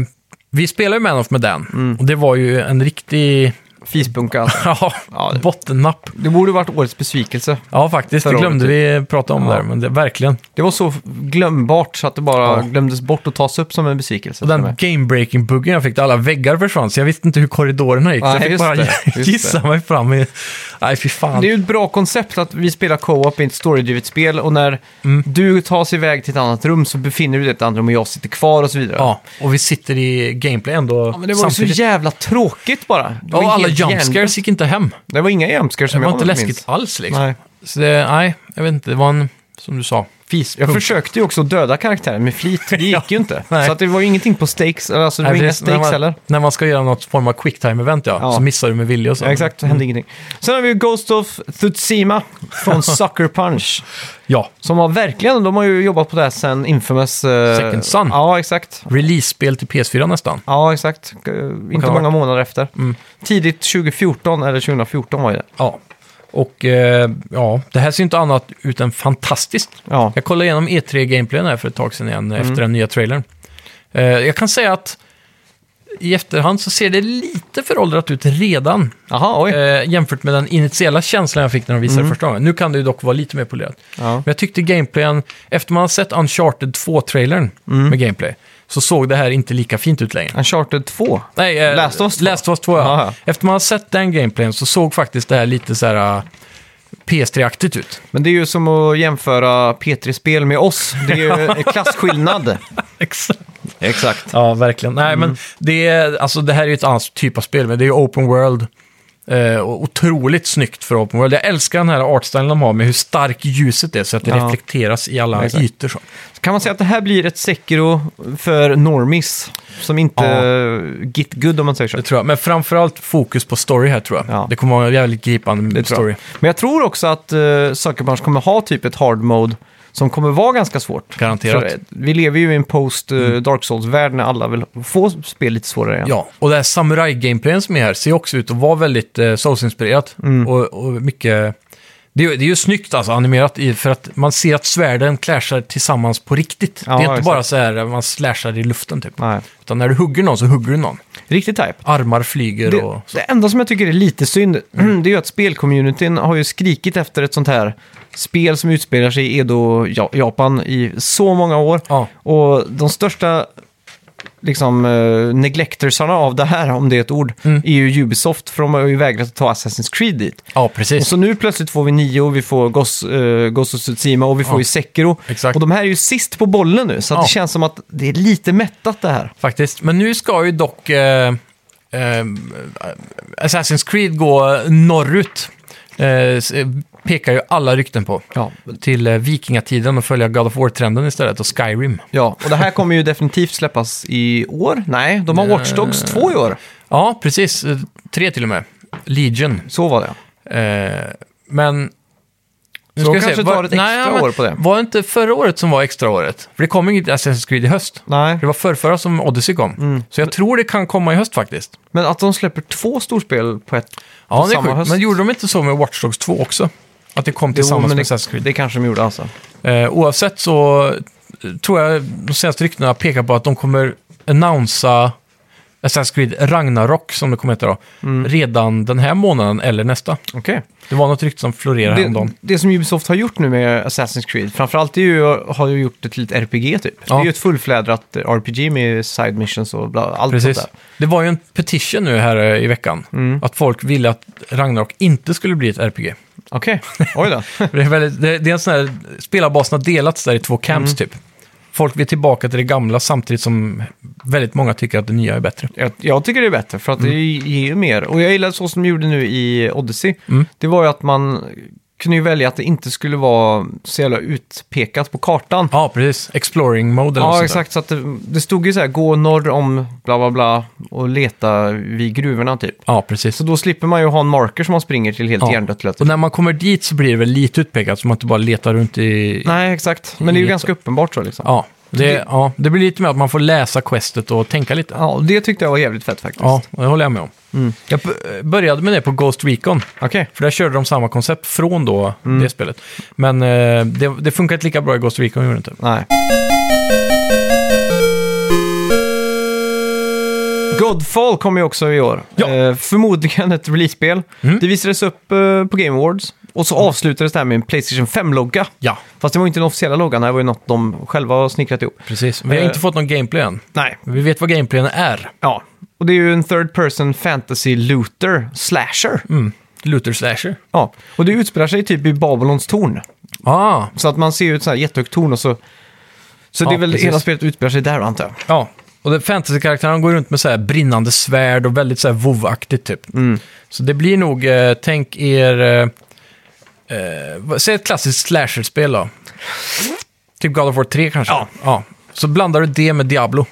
S2: vi spelar ju Man of Medan.
S1: Mm.
S2: Och det var ju en riktig
S1: Fisbunka. alltså.
S2: ja,
S1: Ja, det-
S2: bottennapp.
S1: Det borde varit årets besvikelse.
S2: Ja, faktiskt. Det
S1: Förra
S2: glömde vi prata om
S1: Ja.
S2: där, men det, verkligen.
S1: Det var så glömbart så att det bara
S2: Ja.
S1: glömdes bort att tas upp som en besvikelse.
S2: Och den game-breaking-buggen jag fick, där alla väggar försvann, så jag visste inte hur korridorerna gick.
S1: Nej,
S2: så jag fick
S1: just
S2: bara
S1: det, just det.
S2: gissa mig fram i... Nej, fy fan.
S1: Det är ju ett bra koncept att vi spelar co-op i ett storydrivet spel och när
S2: Mm.
S1: du tas iväg till ett annat rum så befinner du dig i ett annat rum och jag sitter kvar och så vidare.
S2: Ja, och vi sitter i gameplay ändå
S1: Ja, men det var ju så jävla tråkigt bara. Det var
S2: och alla
S1: helt
S2: jumpscares
S1: hjärndött.
S2: gick inte hem.
S1: Det var inga jumpscares
S2: Det
S1: som
S2: var
S1: jag
S2: inte läskigt
S1: minns.
S2: alls liksom.
S1: Nej.
S2: Så det, nej, jag vet inte. Det var en, som du sa, fis.
S1: Jag försökte ju också döda karaktären med flit, det gick
S2: Ja,
S1: ju inte.
S2: nej.
S1: Så att det var ju ingenting på stakes, eller alltså det var
S2: Nej,
S1: inga
S2: precis. när,
S1: stakes
S2: man,
S1: heller.
S2: när man ska göra något form av quicktime-event, ja,
S1: Ja.
S2: så missar du med vilja och så.
S1: Ja, exakt, det
S2: Mm.
S1: hände ingenting. Sen har vi ju Ghost of Tsutsima från Sucker Punch.
S2: Ja,
S1: Som har verkligen, de har ju jobbat på det här sen Infamous... eh,
S2: Second Son.
S1: Ja, exakt.
S2: release-spel till PS4 nästan.
S1: Ja, exakt. Eh, inte
S2: ha
S1: många
S2: varit.
S1: månader efter.
S2: Mm.
S1: Tidigt 2014, eller 2014 var ju det.
S2: Ja. Och eh, ja, det här ser inte annat ut än fantastiskt.
S1: Ja,
S2: Jag kollade igenom E3-gameplayen här för ett tag sedan
S1: Mm.
S2: igen, efter den nya trailern. Eh, jag kan säga att i efterhand så ser det lite föråldrat ut redan.
S1: jaha, oj. Mm.
S2: eh, jämfört med den initiala känslan jag fick när de visade första gången. Nu kan det ju dock vara lite mer polerat.
S1: Ja.
S2: Men jag tyckte gameplayen, efter man har sett Uncharted 2-trailern
S1: Mm.
S2: med gameplay, så såg det här inte lika fint ut längre.
S1: Uncharted 2.
S2: Nej, eh,
S1: Last of Us 2.
S2: Last of Us 2 ja.
S1: Jaha.
S2: Efter man har sett den gameplayen så såg faktiskt det här lite så här eh, PS3-aktigt ut.
S1: Men det är ju som att jämföra P3-spel med oss. Det är ju en klasskillnad.
S2: Exakt.
S1: Exakt.
S2: Ja, verkligen. Nej,
S1: Mm.
S2: men det, är, alltså, det här är ju ett annat typ av spel, men det är ju open world. Eh, och otroligt snyggt för open world. Jag älskar den här artstylen de har med hur stark ljuset är så att det
S1: Ja.
S2: reflekteras i alla
S1: Exakt.
S2: ytor. Så.
S1: Kan man säga att det här blir ett Sekiro för normis? Som inte
S2: Ja.
S1: eh, git good om man säger så.
S2: Det tror jag. Men framförallt fokus på story här tror jag.
S1: Ja.
S2: Det kommer vara en jävligt gripande
S1: Det tror
S2: story.
S1: jag. Men jag tror också att uh, Sucker Punch kommer ha typ ett hard mode som kommer vara ganska svårt.
S2: Garanterat.
S1: För, eh, vi lever ju i en post eh, Dark Souls-värld när alla vill få spel lite svårare igen.
S2: Mm. Ja, och det här samurai-gameplayen som är här ser också ut att vara väldigt eh, Souls-inspirerat.
S1: Mm.
S2: Och, och mycket... Det är, ju- det är ju snyggt alltså animerat i, för att man ser att svärden clashar tillsammans på riktigt.
S1: Ja,
S2: det är inte
S1: exakt.
S2: bara så här eh, man slashar i luften typ.
S1: Nej.
S2: Utan när du hugger någon så hugger du någon.
S1: Riktigt type.
S2: Armar flyger
S1: Det,
S2: och... Så.
S1: det enda som jag tycker är lite synd, det är ju att spelcommunityn har ju skrikit efter ett sånt här spel som utspelar sig i Edo, Ja- Japan i så många år.
S2: Ja.
S1: Och de största liksom, eh, neglectersarna av det här, om det är ett ord, är ju Ubisoft, för de har ju vägrat att ta Assassin's Creed dit.
S2: Mm. ja,
S1: Och
S2: precis.
S1: så nu plötsligt får vi Nio, vi får Ghost, eh, Ghost of Tsushima och vi får
S2: Ja.
S1: ju Sekiro.
S2: Exakt.
S1: Och de här är ju sist på bollen nu, så att
S2: Ja.
S1: det känns som att det är lite mättat det här.
S2: Faktiskt. Men nu ska ju dock eh, eh, Assassin's Creed gå norrut. Eh, s- eh, pekar ju alla rykten på.
S1: Ja.
S2: Till eh, vikingatiden och följa God of War-trenden istället och Skyrim.
S1: Ja, och det här kommer ju definitivt släppas i år. Nej, de har
S2: Eh.
S1: Watch Dogs 2 i år.
S2: Ja, precis. Eh, Tre till och med. Legion.
S1: Så var det.
S2: Eh, men... Nu
S1: Så de kanske tar ett extra
S2: men
S1: år på det.
S2: Var det inte förra året som var extra året? För det kom inget Assassin's Creed i höst.
S1: Nej, Mm.
S2: Det var förrförra som Odyssey kom. Så jag tror det kan komma i höst faktiskt.
S1: men att de släpper två storspel på ett
S2: Ja, det är
S1: samma
S2: sjukt.
S1: höst.
S2: Men gjorde de inte så med Watch Dogs 2 också? Att det kom
S1: Jo,
S2: tillsammans
S1: men
S2: med
S1: det,
S2: Assassin's Creed.
S1: det kanske de gjorde alltså.
S2: Eh, oavsett så eh, tror jag de senaste ryktena pekar på att de kommer annonsa Assassin's Creed Ragnarok, som det kommer heta då,
S1: Mm.
S2: redan den här månaden eller nästa.
S1: Okej.
S2: Det var något rykte som florerade
S1: Det,
S2: häromdagen.
S1: det som Ubisoft har gjort nu med Assassin's Creed, framförallt är ju, har ju gjort ett litet RPG typ.
S2: Ja.
S1: Det är ju ett fullflädrat RPG med side missions och bla, allt
S2: Precis.
S1: sånt där. Mm.
S2: Det var ju en petition nu här eh, i veckan. Att folk ville att Ragnarok inte skulle bli ett RPG.
S1: Okej, oj då.
S2: Det är, väldigt, det, det är en sån här, spelarbasen har delats där i två
S1: Mm.
S2: camps typ. Folk vill tillbaka till det gamla samtidigt som väldigt många tycker att det nya är bättre.
S1: Jag, jag tycker det är bättre för att det
S2: Mm.
S1: ger ju mer. Och jag gillar så som de gjorde nu i Odyssey. Det var ju att man kunde ju välja att det inte skulle vara så jävla utpekat på kartan.
S2: Ja, precis. Exploring mode eller något
S1: Ja,
S2: sånt där.
S1: exakt. Så att det, det stod ju så här, gå norr om bla bla bla och leta vid gruvorna typ.
S2: Ja, precis.
S1: Så då slipper man ju ha en marker som man springer till helt
S2: Ja.
S1: hjärndött lätt.
S2: Och när man kommer dit så blir det väl lite utpekat, så man inte bara letar runt i...
S1: Nej, exakt. Men det är ju ganska uppenbart så liksom.
S2: Ja, det, ja, det blir lite mer att man får läsa questet och tänka lite.
S1: Ja, och det tyckte jag var jävligt fett faktiskt.
S2: Ja, det håller jag med om. Jag b- började med det på Ghost Recon,
S1: Okej.
S2: för där körde de samma koncept från då det spelet. Men eh, det, det funkar inte lika bra i Ghost Recon, gjorde det inte.
S1: Nej. Godfall kommer ju också i år.
S2: Ja. Mm.
S1: Eh, förmodligen ett release-spel. Det visades upp eh, på Game Awards. Och så avslutades det här med en Playstation 5-logga.
S2: Ja,
S1: Fast det var inte den officiella loggan, det här var ju något de själva har snickrat ihop.
S2: precis. Vi har
S1: Eh.
S2: inte fått någon gameplay än.
S1: Nej,
S2: Men Vi vet vad gameplayen är.
S1: ja. Och det är ju en third person fantasy looter, slasher.
S2: Mm. Luther Slasher.
S1: Ja. Och det utspelar sig typ i Babylons torn.
S2: Ah,
S1: Så att man ser ju ett sånt här jättehögt torn och så... Så
S2: Ja,
S1: det är väl
S2: precis.
S1: hela spelet utspelar sig där antar jag.
S2: Ja, och det- fantasy-karaktärerna går runt med så här brinnande svärd och väldigt så här vovaktigt typ.
S1: Mm.
S2: Så det blir nog, eh, tänk er, eh, eh, vad- säg ett klassiskt slasher-spel då. Typ God of War 3 kanske.
S1: Ja. Mm.
S2: Så blandar du det med Diablo,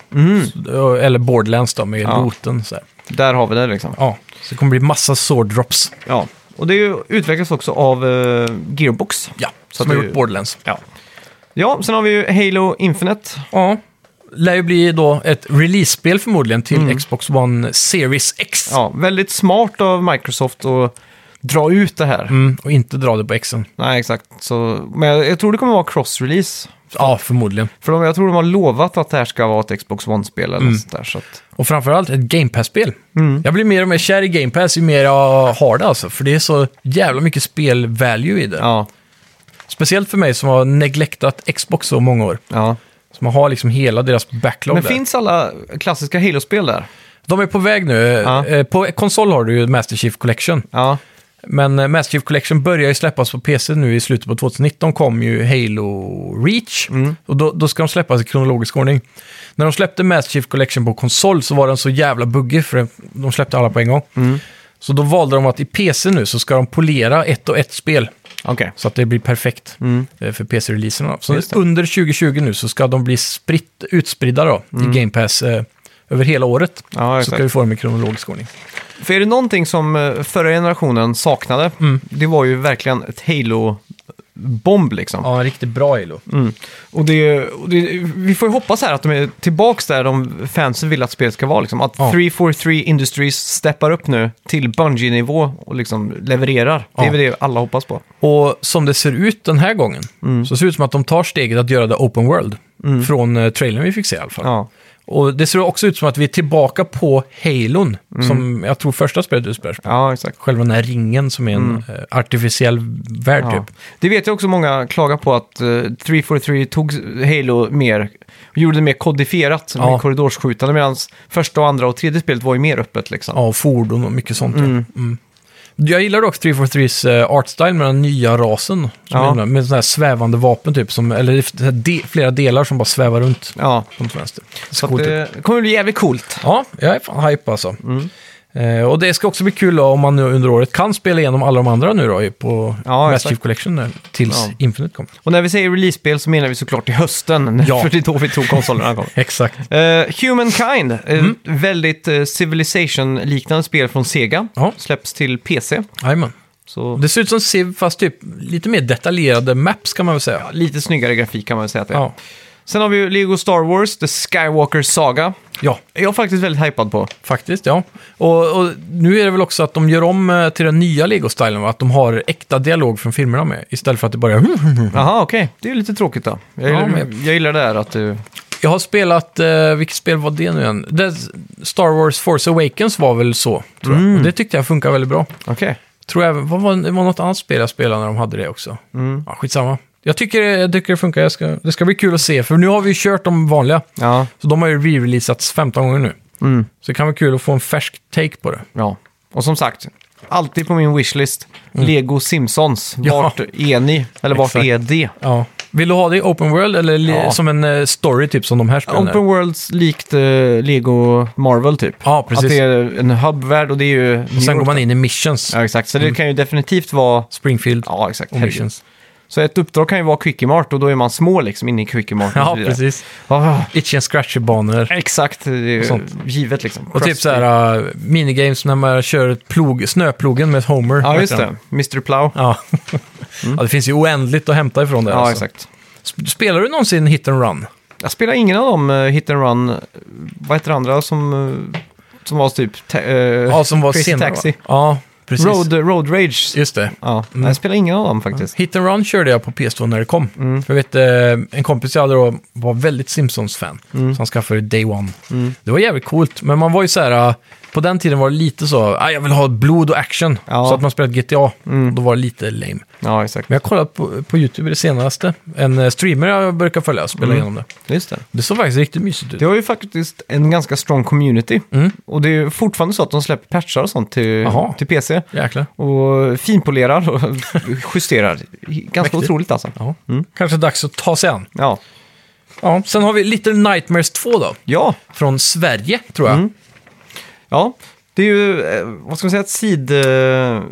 S2: Så- eller Borderlands då, med
S1: Ja.
S2: looten. Så här.
S1: Där har vi det liksom.
S2: Ja, så det kommer bli massa sword drops.
S1: Ja, och det är ju- utvecklas också av eh, Gearbox.
S2: Ja,
S1: Så
S2: som
S1: att
S2: har
S1: det-
S2: gjort Borderlands.
S1: Ja. ja, sen har vi ju Halo Infinite.
S2: Ja. Lär ju bli då ett release-spel förmodligen till Xbox One Series X.
S1: Mm. Ja, väldigt smart av Microsoft att dra ut det här.
S2: Mm, och inte dra det på Xen.
S1: Nej, exakt. Så, men jag, jag tror det kommer vara cross-release.
S2: Ja, förmodligen.
S1: För de, jag tror de har lovat att det här ska vara ett Xbox One-spel
S2: Mm.
S1: eller sånt där. Så att,
S2: Och framförallt ett Game Pass-spel. Jag blir mer och mer kär i Game Pass ju mer jag har det alltså. För det är så jävla mycket spel-value i det.
S1: ja,
S2: Speciellt för mig som har neglectat Xbox så många år.
S1: ja.
S2: Så man har liksom hela deras backlog
S1: Men
S2: där.
S1: finns alla klassiska Halo-spel där?
S2: De är på väg nu.
S1: Ja.
S2: Eh, På konsol har du ju Master Chief Collection.
S1: Ja,
S2: Men eh, Mass Chief Collection börjar ju släppas på PC nu i slutet på 2019 kom ju Halo Reach.
S1: Mm.
S2: Och då, då ska de släppas i kronologisk ordning. När de släppte Mass Chief Collection på konsol så var den så jävla buggig för den- de släppte alla på en gång.
S1: Mm.
S2: Så då valde de att i PC nu så ska de polera ett och ett spel.
S1: Okej.
S2: Så att det blir perfekt eh, för PC-releaserna. Så
S1: Mm. Just det.
S2: under 2020 nu så ska de bli spritt, utspridda då, i Game Pass eh, över hela året.
S1: Mm. Ja,
S2: så
S1: exakt.
S2: ska vi få dem i kronologisk ordning.
S1: För är det någonting som eh, förra generationen saknade,
S2: Mm.
S1: det var ju verkligen ett Halo-bomb liksom.
S2: Ja, en riktigt bra Halo.
S1: Och, det, och det, vi får ju hoppas här att de är tillbaka där de fansen vill att spelet ska vara. Liksom. Att
S2: Ja.
S1: 343 Industries steppar upp nu till Bungie-nivå och liksom levererar. Det är
S2: Ja.
S1: väl det alla hoppas på.
S2: Och som det ser ut den här gången
S1: Mm.
S2: så ser det ut som att de tar steget att göra det open world. Från eh, trailern vi fick se i alla fall.
S1: Ja,
S2: Och det ser också ut som att vi är tillbaka på Halon,
S1: Mm.
S2: som jag tror första spelet utspelar ja.
S1: ja exakt.
S2: Själva den här ringen som är en eh, artificiell värld
S1: Mm. Ja.
S2: typ.
S1: Det vet jag också många klagar på att eh, 343 tog Halo mer, gjorde det mer kodifierat,
S2: Ja.
S1: mer korridorsskjutande, medan första, och andra och tredje spelet var ju mer öppet liksom.
S2: Ja, och fordon och mycket sånt. ja. Mm. Jag gillar dock 343s eh, artstyle med den nya rasen. Som
S1: Ja.
S2: är med- Med sådana här svävande vapen typ, som, eller så här de, flera delar som bara svävar runt.
S1: Ja,
S2: Som vänster.
S1: så att Eh, det kommer bli jävligt coolt.
S2: Ja, jag är fan hype alltså. Eh, och det ska också bli kul då, om man nu under året kan spela igenom alla de andra nu då i- på
S1: Ja,
S2: ja, Mass
S1: exakt.
S2: Chief Collection där, tills
S1: Ja.
S2: Infinite kommer.
S1: Och när vi säger release-spel så menar vi såklart till hösten,
S2: Ja.
S1: för det är då vi tog konsolerna kom.
S2: Exakt.
S1: Eh, Humankind, ett
S2: Mm.
S1: väldigt eh, Civilization-liknande spel från Sega.
S2: Ja.
S1: Släpps till PC.
S2: Jajamän.
S1: Så
S2: Det ser ut som Civ fast typ lite mer detaljerade maps kan man väl säga.
S1: lite snyggare grafik kan man väl säga att det är.
S2: Ja.
S1: Sen har vi ju Lego Star Wars, The Skywalker Saga.
S2: ja.
S1: Jag är faktiskt väldigt hypad på.
S2: Faktiskt, ja. Och, och nu är det väl också att de gör om eh, till den nya Lego-stilen, va? att de har äkta dialog från filmerna med, istället för att det bara är...
S1: Jaha, okej. Det är ju lite tråkigt då. Jag,
S2: Mhm. Ja,
S1: gillar,
S2: men-
S1: jag gillar det här att du...
S2: Jag har spelat, eh, vilket spel var det nu igen? Det, Star Wars Force Awakens var väl så, tror jag.
S1: Mm.
S2: Och det tyckte jag funkar väldigt bra.
S1: Okej.
S2: Tror jag, vad var, det var något annat spel jag spelade när de hade det också.
S1: Mm.
S2: Ja, skitsamma. Jag tycker, det- jag tycker det funkar. Jag ska, det ska bli kul att se, för nu har vi ju kört de vanliga.
S1: Ja.
S2: Så de har ju re-releasats 15 gånger nu.
S1: Mm.
S2: Så det kan vara kul att få en färsk take på det.
S1: ja. Och som sagt, alltid på min wishlist, Lego Simpsons.
S2: Mm. Ja.
S1: Vart är ni? Eller vart
S2: Exakt.
S1: är det?
S2: Ja. Vill du ha det i open world eller li-
S1: Ja.
S2: som en eh, story typ som de här spelen
S1: Open
S2: är?
S1: Worlds likt eh, Lego Marvel typ.
S2: Ja, precis.
S1: Att det är en hubbvärld och det är ju...
S2: Och
S1: New
S2: sen
S1: York.
S2: går man in i missions.
S1: Ja, exakt. Så det kan ju definitivt vara...
S2: Springfield
S1: Ja, exakt.
S2: och
S1: Herregud.
S2: missions.
S1: Så ett uppdrag kan ju vara Quickie Mart och då är man små liksom inne i Quickie Mart. och så
S2: Ja,
S1: vidare.
S2: precis.
S1: Ja,
S2: Itchy and scratchy-banor.
S1: exakt. Det är ju
S2: sånt.
S1: givet liksom.
S2: Och typ
S1: Krusty.
S2: så här eh, minigames när man kör ett plog, snöplogen med Homer.
S1: Ja,
S2: vet
S1: just
S2: jag.
S1: det. Mr. Plow. Ja,
S2: Ja. ja, det finns ju oändligt att hämta ifrån det. alltså.
S1: exakt.
S2: Sp- Spelar du någonsin hit and run?
S1: Jag spelar ingen av dem eh, Hit and Run. eh, Vad heter det andra som, eh, som var typ... ta- eh,
S2: Ja, som var
S1: Crazy
S2: senare,
S1: Taxi.
S2: va? Ja, precis. Mm.
S1: Road, eh, Road Rage.
S2: Just det.
S1: Ja, jag spelar ingen av dem faktiskt.
S2: Hit and run körde jag på PS2 när det kom.
S1: Mm.
S2: För jag vet, eh, en kompis jag hade då var väldigt Simpsons-fan.
S1: Mm.
S2: Så han skaffade Day One. Det var jävligt coolt, men man var ju så här... eh, På den tiden var det lite så, ah, jag vill ha blod och action.
S1: Ja. Mm.
S2: Så att man spelade GTA, då var det lite lame.
S1: Ja, exakt.
S2: Men jag kollade på, på YouTube det senaste. En eh, streamer jag brukar följa spelade igenom det.
S1: Just det.
S2: Det såg faktiskt riktigt mysigt ut.
S1: Mm. Det har ju faktiskt en ganska strong community.
S2: Mm.
S1: Och det är ju fortfarande så att de släpper patchar och sånt till,
S2: Jaha.
S1: till PC.
S2: Jäklar.
S1: Och finpolerar och justerar. Ganska
S2: Mäktigt.
S1: otroligt alltså.
S2: Ja. Kanske dags att ta sig an.
S1: Ja.
S2: Ja, sen har vi Little Nightmares 2 då.
S1: Ja.
S2: Från Sverige, tror jag.
S1: ja. Det är ju, eh, vad ska man säga, ett sid... eh,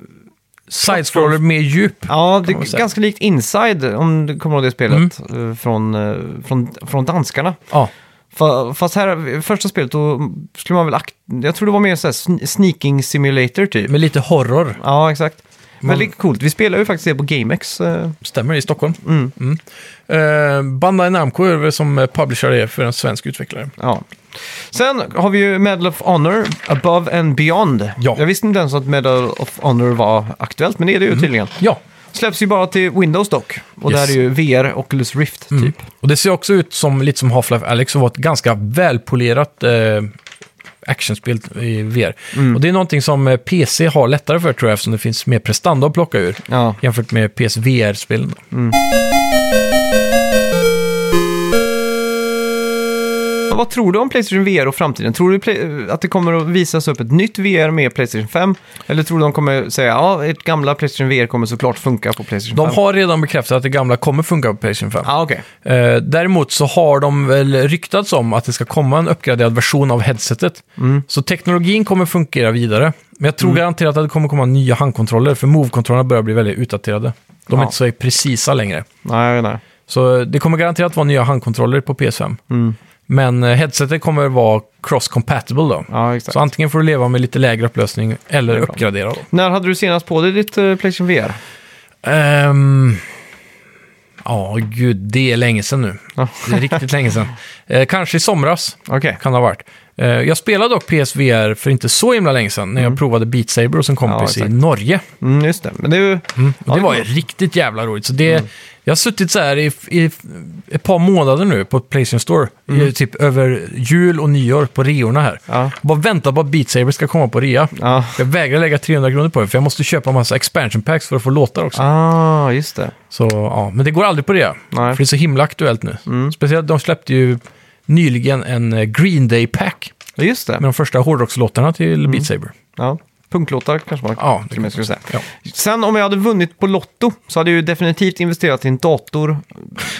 S2: Sidescroller med djup.
S1: Ja, det
S2: man väl
S1: är
S2: säga. Mm.
S1: ganska likt Inside, om du kommer ihåg det spelet, eh, från, eh, från, från danskarna.
S2: Ja,
S1: Fa- Fast här, första spelet, då skulle man väl... Akt- jag tror det var mer så här sn- sneaking simulator typ.
S2: med lite horror.
S1: Ja, exakt.
S2: Man-
S1: Väldigt coolt. Vi spelar ju faktiskt det på GameX. eh,
S2: Stämmer, i Stockholm. Mm. Eh, Bandai Namco är väl som eh, publisher är för en svensk utvecklare.
S1: Ja. Sen har vi ju Medal of Honor, Above and Beyond.
S2: Ja.
S1: Jag visste inte ens att Medal of Honor var aktuellt, men det är det ju tydligen.
S2: Ja,
S1: Släpps ju bara till Windows dock. Och
S2: Mm. Yes. Mm.
S1: där är ju VR och Oculus Rift typ.
S2: och det ser också ut som lite som Half-Life Alyx och var ett ganska välpolerat eh, actionspel i VR. Och det är någonting som eh, PC har lättare för tror jag, eftersom det finns mer prestanda att plocka ur
S1: Ja.
S2: jämfört med PSVR-spelen. då.
S1: Vad vad tror du om Playstation VR och framtiden? Tror du Play- att det kommer att visas upp ett nytt VR med Playstation 5? Eller tror du de kommer säga ja, ert gamla Playstation VR kommer såklart funka på Playstation
S2: De
S1: 5?
S2: har redan bekräftat att det gamla kommer funka på Playstation 5.
S1: Ja, okej.
S2: Eh, däremot så har de väl ryktats om att det ska komma en uppgraderad version av headsetet.
S1: Mm.
S2: Så teknologin kommer fungera vidare. Men jag tror garanterat att det kommer komma nya handkontroller, för Move-kontrollerna börjar bli väldigt utdaterade. De är
S1: Ja.
S2: inte så precisa längre.
S1: Nej, nej.
S2: Så det kommer garanterat vara nya handkontroller på PS5.
S1: Mm.
S2: Men eh, headsetet kommer vara cross-compatible då.
S1: Ja, exakt.
S2: så antingen får du leva med lite lägre upplösning eller
S1: Det är bra.
S2: uppgradera då.
S1: När hade du senast på dig ditt eh, Playstation VR?
S2: Ehm, Ja, gud, det är länge sedan nu.
S1: Ja.
S2: Det är riktigt länge sedan. Eh, kanske i somras
S1: Okej.
S2: kan det ha varit. Eh, jag spelade dock PSVR för inte så himla länge sedan när jag provade Beat Saber hos en kompis
S1: Mm. exakt.
S2: i Norge.
S1: Mm, just det. Men det Mm. är ju...
S2: Och det var ju riktigt jävla roligt. Så det, Jag har suttit så här i, i ett par månader nu på Playstation Store, i, typ över jul och nyår på reorna här.
S1: Mm. Ja.
S2: Bara vänta på att Beat Saber ska komma på rea.
S1: Ja.
S2: Jag vägrar lägga 300 kronor på det, för jag måste köpa en massa expansion packs för att få låtar också.
S1: Ah, just det.
S2: Så, ja. Men det går aldrig på rea,
S1: Nej. Mm.
S2: för det är så himla aktuellt nu. Speciellt, de släppte ju nyligen en eh, Green Day-pack
S1: Just det.
S2: med de första hårdrockslåtarna till Beat Saber.
S1: Ja. Punklåtar kanske man
S2: Ja, det
S1: Mm. till och med
S2: kan
S1: skulle säga.
S2: Ja.
S1: Sen om jag hade vunnit på Lotto så hade jag ju definitivt investerat i en dator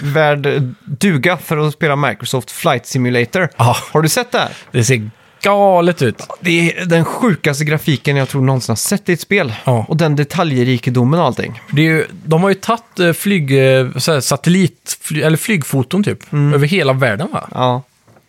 S1: värd duga för att spela Microsoft Flight Simulator.
S2: Ja.
S1: Har du sett det här?
S2: Det ser galet ut.
S1: Det är den sjukaste grafiken jag tror någonsin har sett i ett spel.
S2: Ja.
S1: Och den detaljrikedomen och allting.
S2: Det är ju, de har ju tagit eh, flyg, eh, så här, satellit, fly, eller flygfoton typ,
S1: Mm.
S2: över hela världen va?
S1: Ja.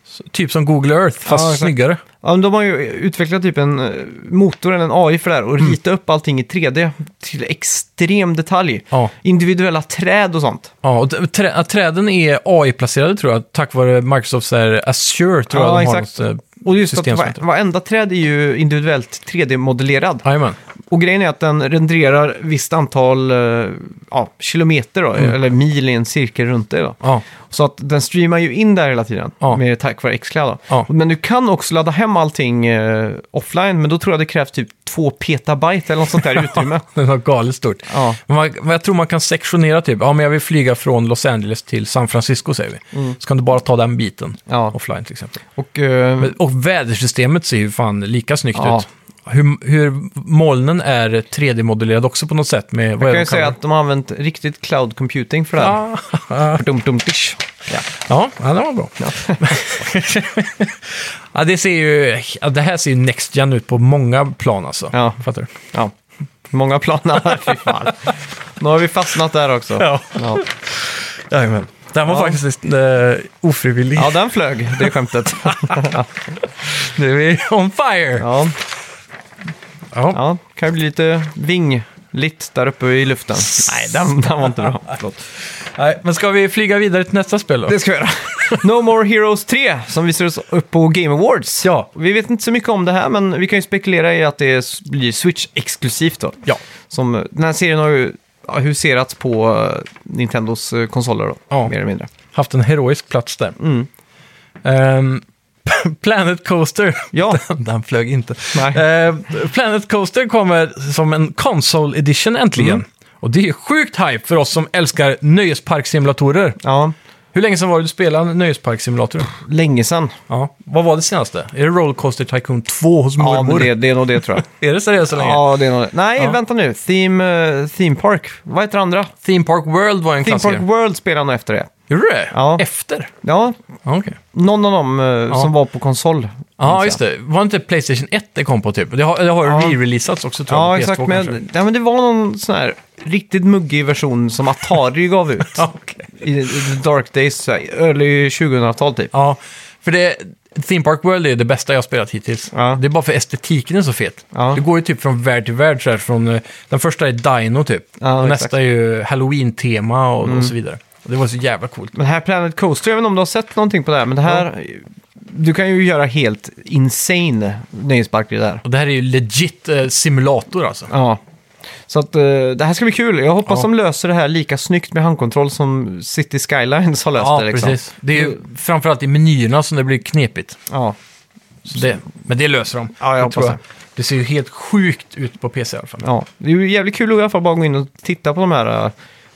S2: Så, typ som Google Earth, fast
S1: Ja, exakt.
S2: snyggare.
S1: Ja, men de har ju utvecklat typ en eh, motor eller en AI för det här och
S2: Mm.
S1: ritat upp allting i 3D till extrem detalj.
S2: Ja.
S1: Individuella träd och sånt.
S2: Ja, och t- trä, att träden är AI-placerade tror jag, tack vare Microsofts där Azure tror
S1: Ja,
S2: jag de
S1: exakt.
S2: har något eh,
S1: Och just
S2: system
S1: att
S2: som
S1: va-
S2: heter.
S1: varenda träd är ju individuellt 3D-modellerad.
S2: Jajamän.
S1: Och grejen är att den renderar visst antal eh, ja, kilometer då,
S2: Mm.
S1: eller mil i en cirkel runt det. Då.
S2: Ja.
S1: Så att den streamar ju in där hela tiden,
S2: Ja.
S1: med tack vare Xcloud. Då.
S2: Ja.
S1: Men du kan också ladda hem allting eh, offline, men då tror jag det krävs typ två petabyte eller något sånt där utrymme.
S2: Det var galet stort.
S1: Ja.
S2: Men Man, men jag tror man kan sektionera typ, ja men jag vill flyga från Los Angeles till San Francisco säger vi. Så kan du bara ta den biten
S1: Mm. Ja.
S2: offline till exempel.
S1: Och, eh,
S2: Men- Och vädersystemet ser ju fan lika snyggt
S1: Ja.
S2: ut. Hur, hur molnen är 3D-modellerad också på något sätt med...
S1: jag
S2: Vad är
S1: kan
S2: de
S1: ju säga
S2: kallar
S1: att de har använt riktigt cloud computing för det här.
S2: det?
S1: Dum, dum, tisch. Ja.
S2: Ja, ja, det var bra. ja, det ser ju... Ja, det här ser ju Next Gen ut på många plan alltså.
S1: Ja.
S2: Fattar du?
S1: ja. Många planer, fy fan. Nu har vi fastnat där också.
S2: Ja.
S1: Ja.
S2: Jajamän. Den var
S1: Ja.
S2: faktiskt eh, ofrivillig.
S1: Ja, den flög, det skämtet.
S2: Nu är vi on fire!
S1: Ja,
S2: Ja.
S1: ja kan ju bli lite vingligt där uppe i luften. Nej, den, den var inte bra. Förlåt.
S2: Nej, men ska vi flyga vidare till nästa spel då?
S1: Det ska vi göra. No More Heroes 3, som visades upp på Game Awards.
S2: Ja.
S1: Vi vet inte så mycket om det här, men vi kan ju spekulera i att det s- blir Switch-exklusivt då.
S2: Ja.
S1: Som, den här serien har ju ja, huserats på eh, Nintendos eh, konsoler då,
S2: Ja.
S1: mer eller mindre.
S2: Haft en heroisk plats där.
S1: Mm.
S2: Ehm, Planet Coaster.
S1: Ja,
S2: Den flög inte.
S1: Nej.
S2: Eh, Planet Coaster kommer som en console edition äntligen.
S1: Mm.
S2: Och det är sjukt hype för oss som älskar nöjesparksimulatorer.
S1: ja,
S2: Hur länge sedan var det du spelade en nöjesparksimulator?
S1: länge sedan.
S2: Ja. Vad var det senaste? Är det Rollercoaster Tycoon 2 hos
S1: Ja, men
S2: mormor?
S1: det, det är nog det tror jag.
S2: Är det seriöst så länge?
S1: Ja, det är nog det. Nej,
S2: Ja.
S1: vänta nu. Theme, eh, theme Park. Vad heter andra?
S2: Theme Park World var en
S1: Theme Park
S2: klassiker.
S1: World spelar nog efter det.
S2: Gjorde det?
S1: Ja.
S2: Efter?
S1: Ja,
S2: Ja, okej.
S1: någon av dem eh, som var på konsol. minns
S2: Ja,
S1: jag.
S2: just det. Var inte Playstation 1 det kom på typ? Det har, det har re-releasats också tror jag.
S1: Ja,
S2: på PS2
S1: exakt.
S2: kanske.
S1: Men, ja, men det var någon sån här riktigt muggig version som Atari gav ut.
S2: Ja, okej.
S1: I, I the Dark Days, så här, early 2000-tal typ.
S2: Ja, för det, Theme Park World är det bästa jag har spelat hittills.
S1: Ja.
S2: Det är bara för estetiken är så fet.
S1: Ja.
S2: Det går ju typ från värld till värld. Så här, från, eh, den första är Dino typ.
S1: Ja, exakt.
S2: och
S1: Mm.
S2: nästa är ju Halloween-tema och, och så vidare. Och det var så jävla coolt.
S1: Men här Planet Coaster, jag vet inte om du har sett någonting på det här, men det här... Du kan ju göra helt insane nöjesparker där.
S2: Och det här är ju legit eh, simulator alltså.
S1: Ja. Så att eh, det här ska bli kul. Jag hoppas
S2: Ja.
S1: de löser det här lika snyggt med handkontroll som City Skylines har löst
S2: Ja,
S1: det. Liksom.
S2: precis. Det är ju framförallt i menyerna som det blir knepigt.
S1: Ja.
S2: Så det, men det löser de.
S1: Mm. Ja, jag hoppas
S2: tror
S1: det.
S2: Det ser ju helt sjukt ut på PC i alla fall.
S1: ja, det är ju jävligt kul att i alla fall bara gå in och titta på de här eh,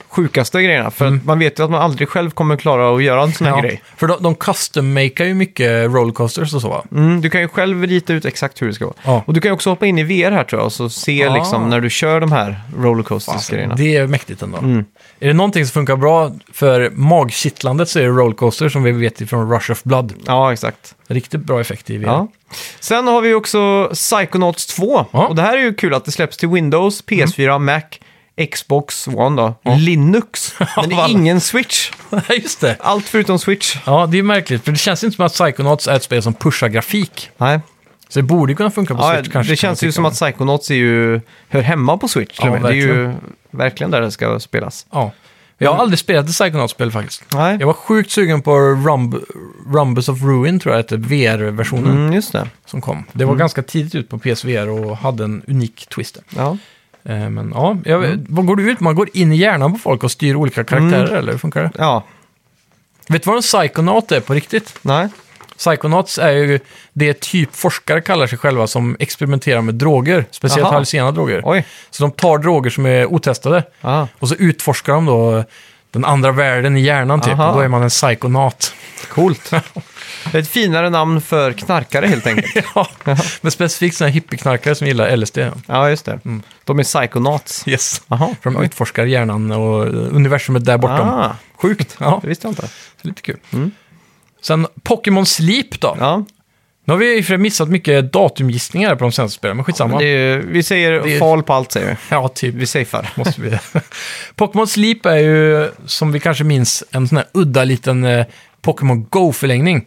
S1: sjukaste grejerna. För att man vet ju att man aldrig själv kommer klara att göra en sån här
S2: Mm. Ja,
S1: grej.
S2: för de, de custom-makear ju mycket rollercoasters och så va?
S1: Mm, du kan ju själv rita ut exakt hur det ska vara.
S2: Ja.
S1: Och du kan ju också hoppa in i VR här tror jag och så se
S2: Ah.
S1: liksom när du kör de här rollercoasters-grejerna.
S2: Alltså, Det är mäktigt ändå.
S1: Mm.
S2: Är det någonting som funkar bra för magkittlandet så är det rollercoaster som vi vet från Rush of Blood.
S1: Ja, exakt.
S2: Riktigt bra effekt i VR.
S1: Ja. Sen har vi också Psychonauts 2.
S2: Ja. Mm.
S1: Och det här är ju kul att det släpps till Windows, PS4, Mac, Xbox One då, Linux. Men det
S2: vad-
S1: är ingen Switch.
S2: Just det.
S1: Allt förutom Switch.
S2: Ja, det är märkligt, för det känns inte som att Psychonauts är ett spel som pushar grafik.
S1: Nej.
S2: Så det borde ju kunna funka på
S1: Ja,
S2: Switch kanske.
S1: det
S2: kan jag
S1: känns ju
S2: tycka.
S1: som att Psychonauts är ju, hör hemma på Switch. till
S2: Ja,
S1: och med. det är ju verkligen där det ska spelas.
S2: Ja. Jag har aldrig spelat ett Psychonauts-spel faktiskt.
S1: Nej,
S2: Jag var sjukt sugen på Rumb Rumbus of Ruin, tror jag hette, VR-versionen
S1: mm, just det.
S2: som kom. Det
S1: Mm.
S2: var ganska tidigt ut på PSVR och hade en unik twist.
S1: Ja.
S2: Eh, Men ja, jag,
S1: Mm.
S2: vad går du ut? Man går in i hjärnan på folk och styr olika karaktärer, eller hur funkar det?
S1: ja,
S2: Vet du vad en psykonaut är på riktigt?
S1: nej.
S2: Psychonauts är ju det typ forskare kallar sig själva som experimenterar med droger, speciellt
S1: Aha.
S2: hallucinogena droger.
S1: Oj.
S2: Så de tar droger som är otestade
S1: Ja.
S2: och så utforskar de då den andra världen i hjärnan typ.
S1: Aha.
S2: Och då är man en psykonaut. Coolt.
S1: Det är ett finare namn för knarkare helt enkelt.
S2: ja, men specifikt sådana hippieknarkare som gillar LSD.
S1: ja, just det.
S2: Mm.
S1: De är psychonauts.
S2: Yes.
S1: Jaha,
S2: För de utforskar hjärnan och universumet där bortom.
S1: Ah,
S2: Sjukt. Ja,
S1: det visste jag inte.
S2: lite kul. Sen Pokémon Sleep då.
S1: Ja,
S2: Nu har vi i och för sig missat mycket datumgissningar här på de senaste spelen, men skitsamma.
S1: men det är, ju- vi säger
S2: Det är-
S1: fall på allt säger vi.
S2: Ja, typ.
S1: Vi safear.
S2: måste vi. Pokémon Sleep är ju, som vi kanske minns, en sån här udda liten eh, Pokémon Go-förlängning.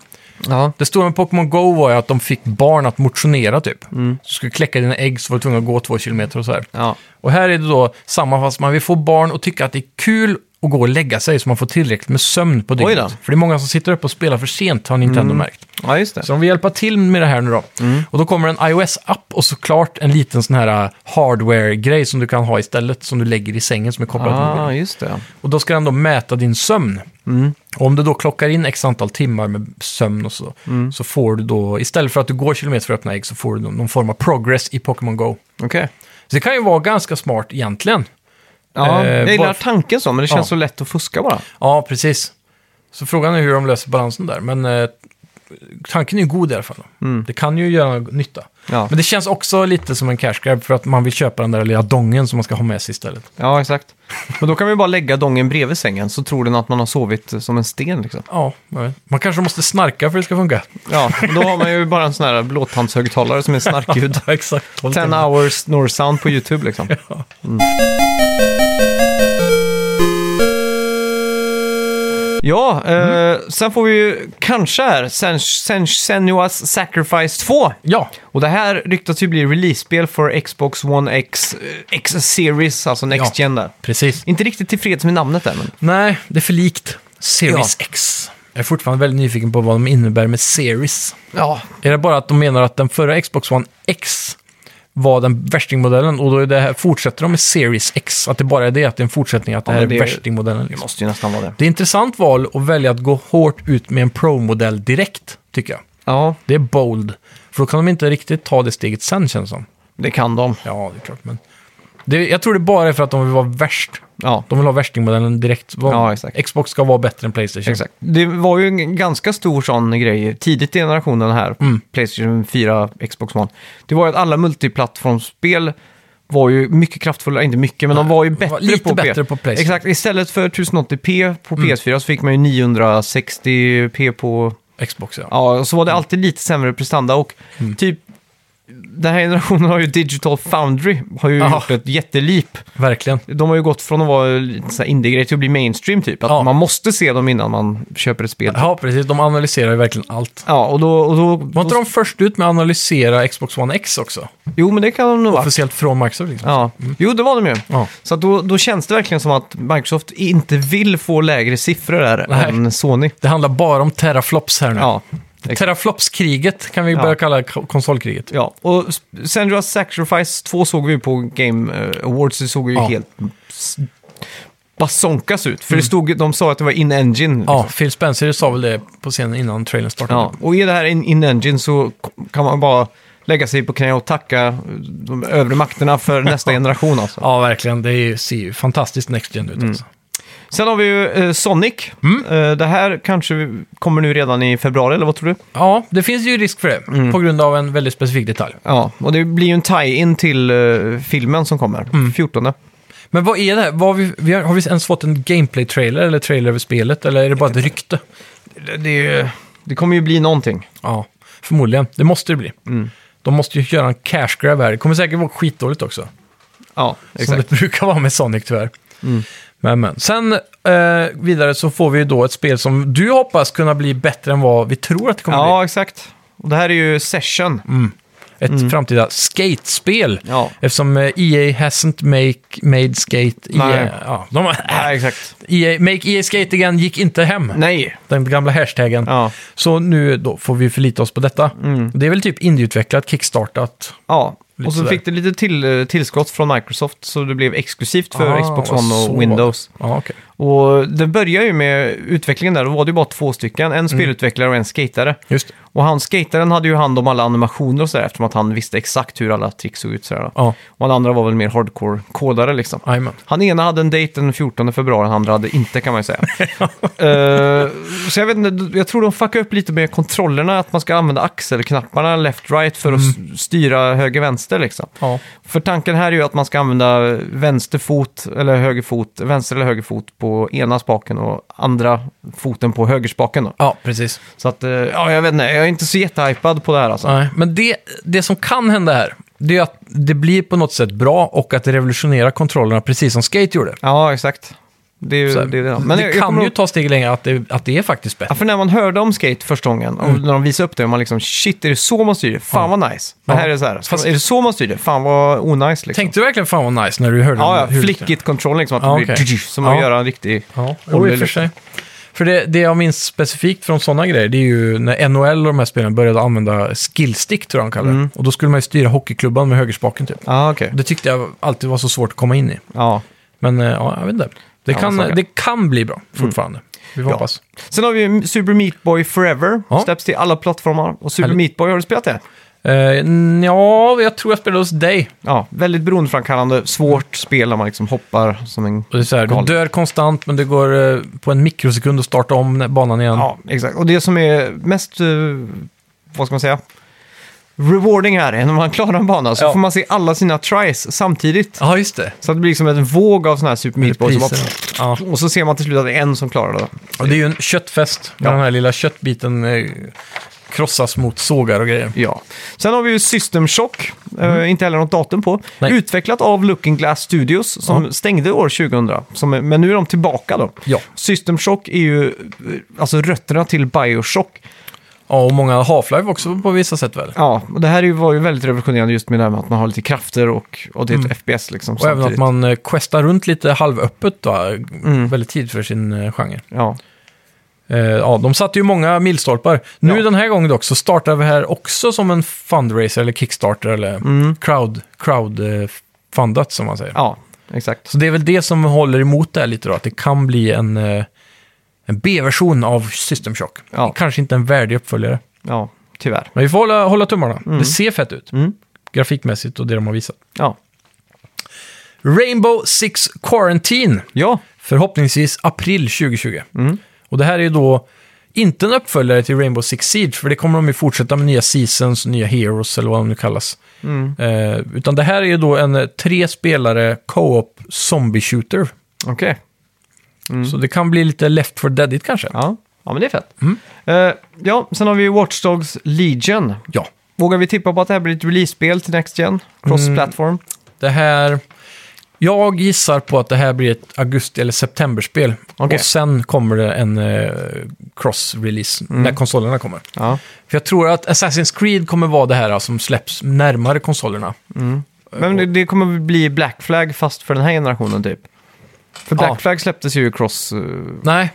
S1: Ja.
S2: Det stora med Pokémon Go var ju att de fick barn att motionera typ. Mm. Du skulle kläcka dina ägg så var du tvungen att gå två kilometer och så här.
S1: Ja.
S2: Och här är det då samma fast man vill få barn att tycka att det är kul att gå och lägga sig så man får tillräckligt med sömn på
S1: då. Mm.
S2: dygnet. För det är många som sitter upp och spelar för sent har Nintendo märkt.
S1: ja, just det.
S2: Så de vill hjälpa till med det här nu då.
S1: Mm.
S2: Och då kommer en iOS-app och såklart en liten sån här eh, hardware-grej som du kan ha istället som du lägger i sängen som är kopplad till mobilen.
S1: Ah, Mm. just det.
S2: Och då ska den då mäta din sömn. Och om du då klockar in x antal timmar med sömn och så,
S1: Mm.
S2: så får du då, istället för att du går kilometer för att öppna ägg, så får du då någon form av progress i Pokémon Go.
S1: Okej.
S2: Så det kan ju vara ganska smart egentligen.
S1: Ja,
S2: Eh,
S1: jag gillar
S2: bara-
S1: tanken så, men det känns
S2: Ja.
S1: så lätt att fuska bara.
S2: Ja, precis. Så frågan är hur de löser balansen där, men eh, tanken är ju god i alla fall. Det kan ju göra nytta.
S1: Ja.
S2: Men det känns också lite som en cash grab för att man vill köpa den där lilla dongen som man ska ha med sig istället.
S1: Ja, exakt. Men då kan vi bara lägga dongen bredvid sängen så tror den att man har sovit eh, som en sten liksom.
S2: Ja, jag vet. man kanske måste snarka för att det ska funka.
S1: Ja, då har man ju bara en sån här blåtandshögtalare som är snarkljud.
S2: Ja, exakt. Håll
S1: 10
S2: till.
S1: hours snore sound på YouTube liksom. Mm. Ja, eh, sen får vi ju kanske här Sen- Sen- Senua's Sacrifice 2.
S2: Ja,
S1: Och det här ryktas ju bli release-spel för Xbox One X, eh, X Series, alltså Next
S2: Ja.
S1: Gen där.
S2: precis.
S1: Inte riktigt tillfreds med namnet där, men
S2: Nej, det är för likt. Series X. Jag är fortfarande väldigt nyfiken på vad de innebär med Series.
S1: ja,
S2: Är det bara att de menar att den förra Xbox One X var den värstingmodellen och då är det här, fortsätter de med Series X? Att det bara är det, att det är en fortsättning, att det
S1: Ja,
S2: här
S1: men
S2: är
S1: det-
S2: värstingmodellen.
S1: det
S2: Liksom.
S1: måste ju nästan vara det.
S2: Det är ett intressant val att välja att gå hårt ut med en Pro-modell direkt, tycker jag.
S1: Ja,
S2: Det är bold. För då kan de inte riktigt ta det steget sen, känns det som.
S1: det kan de.
S2: Ja, det är klart, men... Det, jag tror det bara är för att de vill vara värst.
S1: Ja.
S2: De vill ha värstingmodellen direkt.
S1: Ja, exakt.
S2: Xbox ska vara bättre än Playstation.
S1: Exakt. Det var ju en ganska stor sån grej tidigt i generationen här, Playstation 4, Xbox One. Det var ju att alla multiplattformsspel var ju mycket kraftfulla, inte mycket, men de var ju bättre
S2: var lite
S1: på, Mm.
S2: bättre på Playstation.
S1: Exakt, istället för 1080p på PS4 så fick man ju 960p på...
S2: Xbox, ja.
S1: Ja, och så var det alltid lite sämre prestanda och typ... Den här generationen har ju Digital Foundry, har ju
S2: Aha.
S1: gjort ett jättelip.
S2: Verkligen.
S1: De har ju gått från att vara lite så här indie-grej till att bli mainstream typ. Att
S2: Ja.
S1: man måste se dem innan man köper ett spel.
S2: Ja, precis. De analyserar ju verkligen allt.
S1: Ja, och då... Och då,
S2: Var inte
S1: då
S2: de först ut med att analysera Xbox One X också?
S1: jo, men det kan de nog vara.
S2: Officiellt från Microsoft liksom.
S1: Ja. Jo, det var de ju.
S2: Ja.
S1: Så att då, då känns det verkligen som att Microsoft inte vill få lägre siffror där
S2: Nej.
S1: än Sony.
S2: Det handlar bara om teraflops här nu.
S1: Ja. exakt.
S2: Teraflops-kriget kan vi börja kalla ko- konsolkriget.
S1: Ja, och S- Sendra's Sacrifice 2 såg vi ju på Game eh, Awards, det såg ju
S2: Ja. Mm.
S1: helt s- basonkas ut. För det stod, ju- de sa att det var in-engine. liksom.
S2: Ja, Phil Spencer sa väl det på scenen innan trailern startade.
S1: Ja, och är det här in- in-engine så k- kan man bara lägga sig på knä och tacka eh, de övre makterna för nästa generation alltså. Mm.
S2: Ja, verkligen. Det är ju- ser ju fantastiskt Next Gen ut alltså.
S1: Sen har vi ju eh, Sonic.
S2: Mm.
S1: Eh, det här kanske vi- kommer nu redan i februari, eller vad tror du?
S2: Ja, det finns ju risk för det.
S1: Mm.
S2: På grund av en väldigt specifik detalj.
S1: Ja, och det blir ju en tie-in till eh, filmen som kommer,
S2: Mm.
S1: 14.
S2: Men vad är det här? Vad har, vi, vi har, har vi ens fått en gameplay-trailer eller trailer över spelet? Eller är det bara ett rykte?
S1: Det, det, är ju- det kommer ju bli någonting.
S2: Ja, förmodligen. Det måste det bli.
S1: Mm.
S2: De måste ju göra en cash grab här. Det kommer säkert vara skitdåligt också.
S1: Ja,
S2: Som
S1: exakt. Mm.
S2: det brukar vara med Sonic tyvärr. Men, men. Sen eh, vidare så får vi ju då ett spel som du hoppas kunna bli bättre än vad vi tror att det kommer Mm.
S1: Ja, exakt. Och det här är ju Session.
S2: bli. Ett framtida skatespel.
S1: Mm. Ja.
S2: Eftersom eh, EA hasn't make, made skate...
S1: Nej.
S2: EA, ja, de,
S1: Ja, exakt.
S2: EA, make EA skate again gick inte hem.
S1: Nej.
S2: Den gamla hashtaggen.
S1: Ja. Mm.
S2: Så nu då får vi förlita oss på detta. Det är väl typ indieutvecklat, kickstartat.
S1: Ja,
S2: Lite
S1: och så
S2: sådär.
S1: fick det lite till, eh, tillskott från Microsoft så det blev exklusivt för
S2: Ah,
S1: Xbox
S2: vad
S1: One
S2: så var
S1: och
S2: det.
S1: Windows.
S2: Ja, okej.
S1: Och den börjar ju med utvecklingen där, då var det ju bara två stycken,
S2: Mm.
S1: en spelutvecklare och en skatare.
S2: Just det.
S1: Och han skataren hade ju hand om alla animationer och sådär eftersom att han visste exakt hur alla tricks såg ut. Sådär.
S2: Ja,
S1: Och den andra var väl mer hardcore-kodare liksom.
S2: jajamän.
S1: Han ena hade en dejt den 14 februari, han andra hade inte kan man ju säga. Eh, så jag vet inte, jag tror de fuckar upp lite med kontrollerna, att man ska använda axelknapparna left-right för att s- styra höger-vänster liksom.
S2: Mm. Ja.
S1: För tanken här är ju att man ska använda vänster fot eller höger fot, vänster eller höger fot på ena spaken och andra foten på högerspaken. Då.
S2: ja, precis.
S1: Så att, eh, ja jag vet inte, jag är inte så jättehypad på det här alltså.
S2: Nej, men det, det som kan hända här, det är att det blir på något sätt bra och att det revolutionerar kontrollerna precis som Skate gjorde.
S1: Ja, exakt. Det, är ju,
S2: Så här,
S1: det, är det.
S2: det
S1: jag- jag
S2: kan
S1: kommer
S2: ju
S1: ihåg-
S2: ta steg längre att det, att det är faktiskt
S1: Ja,
S2: bättre.
S1: för när man hörde om skate första gången, och när de visade upp det, man liksom shit, är det så man styr det? Fan vad nice. Men
S2: Mm. Ja.
S1: här är det så här,
S2: Fast-
S1: är det så man styr det? Fan vad onice liksom.
S2: Tänkte du verkligen fan vad nice när du hörde om
S1: ja, ja,
S2: hur det-
S1: flickigt kontroll liksom, att
S2: Ja,
S1: det blir
S2: okej.
S1: som att
S2: Ja.
S1: göra en riktig...
S2: Ja, jo, i och för sig. För det, det jag minns specifikt från sådana grejer, det är ju när NHL och de här spelen började använda skillstick, tror jag de kallar
S1: Mm.
S2: det. Och då skulle man ju styra hockeyklubban med högerspaken typ.
S1: Ja, okej.
S2: Det tyckte jag alltid var så svårt att komma in i.
S1: Ja.
S2: Men eh, ja, jag vet inte. Det,
S1: Ja,
S2: kan,
S1: vad saker.
S2: det kan bli bra fortfarande. Vi får
S1: Mm. Ja.
S2: hoppas.
S1: Sen har vi ju Super Meat Boy Forever,
S2: Ja.
S1: släpps till alla plattformar. Och Super
S2: Härligt.
S1: Meat Boy, har du spelat det?
S2: Eh, n- ja, jag tror jag spelade hos dig.
S1: Ja, väldigt beroendeframkallande,
S2: Mm.
S1: svårt spel där man liksom hoppar som en...
S2: Och det är så här, du
S1: Galet.
S2: dör konstant, men det går eh, på en mikrosekund att starta om när- banan igen.
S1: Ja, exakt. Och det som är mest, eh, vad ska man säga, rewarding här är när man klarar en bana så
S2: Ja.
S1: får man se alla sina tries samtidigt.
S2: Ja, just det.
S1: Så att det blir liksom en våg av sådana här Super Meat Boy som bara,
S2: Priser. Ja.
S1: Och så ser man till slut att det är en som klarar det.
S2: Och det är ju en köttfest. När
S1: Ja.
S2: den här lilla köttbiten eh, krossas mot sågar och grejer.
S1: Ja. Sen har vi ju System Shock, eh, inte heller något datum på.
S2: Mm. Nej.
S1: Utvecklat av Looking Glass Studios som stängde år 2000. Som, är- men nu är de tillbaka då.
S2: Ja.
S1: System Shock är ju eh, alltså rötterna till Bioshock.
S2: Ja, och många Half-Life också på vissa sätt väl.
S1: Ja, och det här är ju- var ju väldigt revolutionerande just med det här med att man har lite krafter och, och det är ett FPS liksom.
S2: Mm. Och även att
S1: samtidigt. Mm.
S2: man eh, questar runt lite halvöppet då, väldigt tid för sin eh, genre.
S1: Ja.
S2: Eh, ja, de satte ju många milstolpar. Nu
S1: Ja.
S2: den här gången dock så startar vi här också som en fundraiser eller Kickstarter eller
S1: Mm.
S2: crowd, crowd eh, fundat som man säger.
S1: ja, exakt.
S2: Så det är väl det som håller emot det här lite då, att det kan bli en, eh, en B-version av System Shock.
S1: Ja.
S2: Kanske inte en värdig uppföljare.
S1: Ja, tyvärr.
S2: Men vi får hålla, hålla tummarna.
S1: Mm.
S2: Det ser fett ut. Grafikmässigt och det de har visat.
S1: Ja.
S2: Rainbow Six Quarantine.
S1: Ja,
S2: Förhoppningsvis april 2020. Och det här är ju då inte en uppföljare till Rainbow Six Siege, för det kommer de ju fortsätta med nya seasons, nya heroes eller vad de nu kallas. Eh, utan det här är ju då en eh, tre spelare co-op zombie shooter.
S1: okej.
S2: Så det kan bli lite left for deadigt kanske.
S1: Ja. ja, men det är fett.
S2: Mm.
S1: Eh, ja, sen har vi ju Watch Dogs Legion.
S2: Ja.
S1: Vågar vi tippa på att det här blir ett release-spel till Next Gen? Cross-platform?
S2: Det här... Jag gissar på att det här blir ett augusti eller septemberspel.
S1: Okej.
S2: Och sen kommer det en eh, cross-release när konsolerna kommer.
S1: Ja.
S2: För jag tror att Assassin's Creed kommer vara det här alltså, som släpps närmare konsolerna.
S1: Men det, det kommer bli Black Flag fast för den här generationen typ. För Black
S2: Ja.
S1: Flag släpptes ju i cross... eh,
S2: Nej.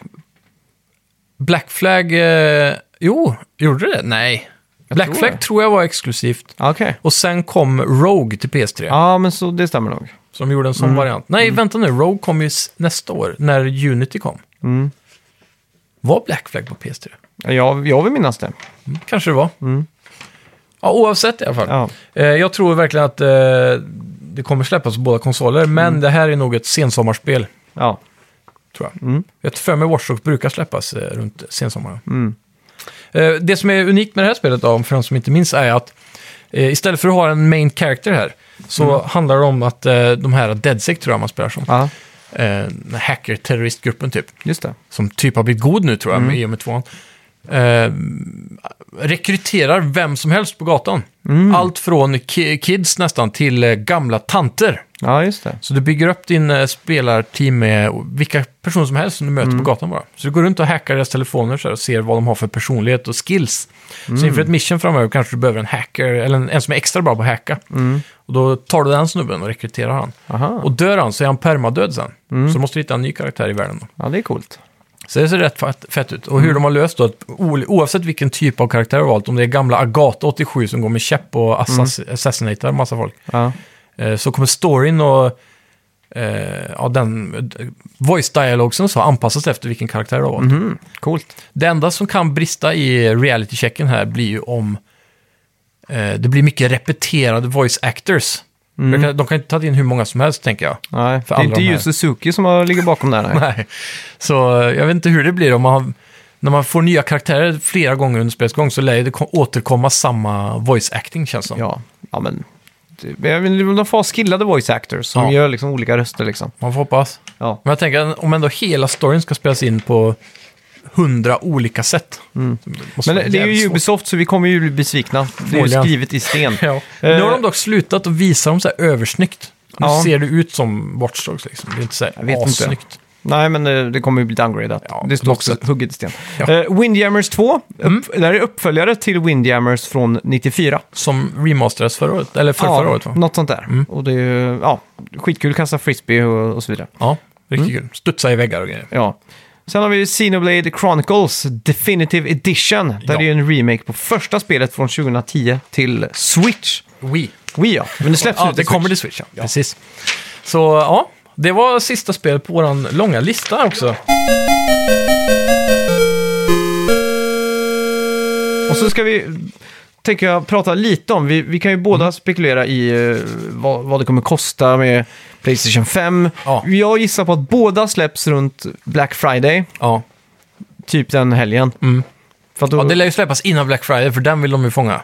S2: Black Flag... Eh, jo, gjorde det? Nej. Black
S1: tror
S2: Flag
S1: det.
S2: tror jag var exklusivt.
S1: Ja, Ah, Okej.
S2: Och sen kom Rogue till PS3.
S1: Ja, Mm. men så det stämmer nog.
S2: Så de gjorde en sån variant. Nej, vänta nu. Rogue kom ju s- nästa år, när Unity kom.
S1: Mm.
S2: Var Black Flag på PS3?
S1: Jag, jag vill minnas det.
S2: Kanske det var. Ja, oavsett i alla fall.
S1: Mm. Ja.
S2: Eh, jag tror verkligen att eh,
S1: Mm.
S2: det kommer släppas på båda konsoler, men det här är nog ett sensommarspel.
S1: Ja.
S2: tror jag. Jag tror för mig Watchdog brukar släppas eh, runt sensommaren.
S1: Mm.
S2: Eh, Det som är unikt med det här spelet, då, för de som inte minns, är att eh, istället för att ha en main character här, så handlar det om att eh, de här DedSec, tror jag man spelar som,
S1: Ja,
S2: eh, den här hacker-terroristgruppen typ,
S1: just det.
S2: som typ har blivit god nu tror jag, i och med tvåan, eh, rekryterar vem som helst på gatan. Allt från ki- kids nästan till eh, gamla tanter.
S1: Ja, just det.
S2: Så du bygger upp din eh, spelarteam med vilka personer som helst som du möter på gatan bara. Så du går runt och hackar deras telefoner så här, och ser vad de har för personlighet och skills. Så inför ett mission framöver kanske du behöver en hacker, eller en, en som är extra bra på att hacka. Och då tar du den snubben och rekryterar han.
S1: Aha.
S2: Och dör han så är han permadöd sen. Så du måste hitta en ny karaktär i världen. Då.
S1: Ja, det är coolt.
S2: Så det ser rätt fett- fett ut. Och hur de har löst då, att o- oavsett vilken typ av karaktär du har valt, om det är gamla Agata 87 som går med käpp och assass- assassinatar massa folk,
S1: Ja,
S2: eh, så kommer storyn och eh, ja, den eh, voice dialogsen så anpassas efter vilken karaktär du har valt.
S1: coolt.
S2: Det enda som kan brista i reality-checken här blir ju om eh, det blir mycket repeterade voice actors. De kan- De kan inte ta in hur många som helst, tänker jag.
S1: Nej, det är
S2: För alla
S1: inte
S2: de här-
S1: Yu Suzuki som har- ligger bakom där. Nej.
S2: Nej. Så eh, jag vet inte hur det blir om man har, när man får nya karaktärer flera gånger under spelets gång så lär ju det ko- återkomma samma voice acting känns som.
S1: Ja, ja men... det- men Jag vill, de får ha skillade voice actors som
S2: Ja.
S1: gör liksom olika röster liksom.
S2: Man får hoppas.
S1: Ja,
S2: Men jag tänker att om ändå hela storyn ska spelas in på hundra olika sätt. så måste
S1: Mm. men
S2: vara
S1: det är
S2: jävligt
S1: ju
S2: svårt.
S1: Ubisoft så vi kommer ju bli besvikna. Det är ju
S2: Förmodligen.
S1: skrivet i sten.
S2: Ja. Nu har de dock slutat att visa dem så här översnyggt. Nu
S1: Eh, Ja.
S2: ser det ut som Watch Dogs liksom. Det är inte så
S1: Jag vet
S2: här
S1: inte.
S2: assnyggt.
S1: Nej, men eh, det kommer ju bli downgradat.
S2: Ja,
S1: det
S2: på
S1: står
S2: något
S1: också
S2: sätt.
S1: hugget i sten.
S2: Ja. Mm.
S1: Eh, Windjammers 2, upp, det här är uppföljare till Windjammers från 94.
S2: Som remasterades förra året, eller för förra året va?
S1: Något sånt där.
S2: Mm.
S1: Och det är ju ja, skitkul att kasta frisbee och, och så vidare.
S2: Ja, riktigt
S1: Mm.
S2: kul. Studsa i väggar och grejer.
S1: Ja. Sen har vi ju Xenoblade Chronicles Definitive Edition. Där
S2: Ja.
S1: det är ju en remake på första spelet från 2010 till Switch.
S2: Wii.
S1: Wii ja, men det släpps
S2: Ja,
S1: nu till
S2: det kommer
S1: Switch.
S2: till Switch, ja. Precis. Så ja, det var sista spelet på våran långa lista här också.
S1: Och
S2: Mm.
S1: så ska vi, tänker jag, prata lite om, vi, vi kan ju båda
S2: Mm.
S1: spekulera i eh, vad, vad det kommer kosta med Playstation 5.
S2: Ja.
S1: Jag gissar på att båda släpps runt Black Friday,
S2: Ja.
S1: typ den helgen.
S2: Mm.
S1: För att då,
S2: ja,
S1: ja,
S2: det lär ju släppas innan Black Friday, för den vill de ju fånga.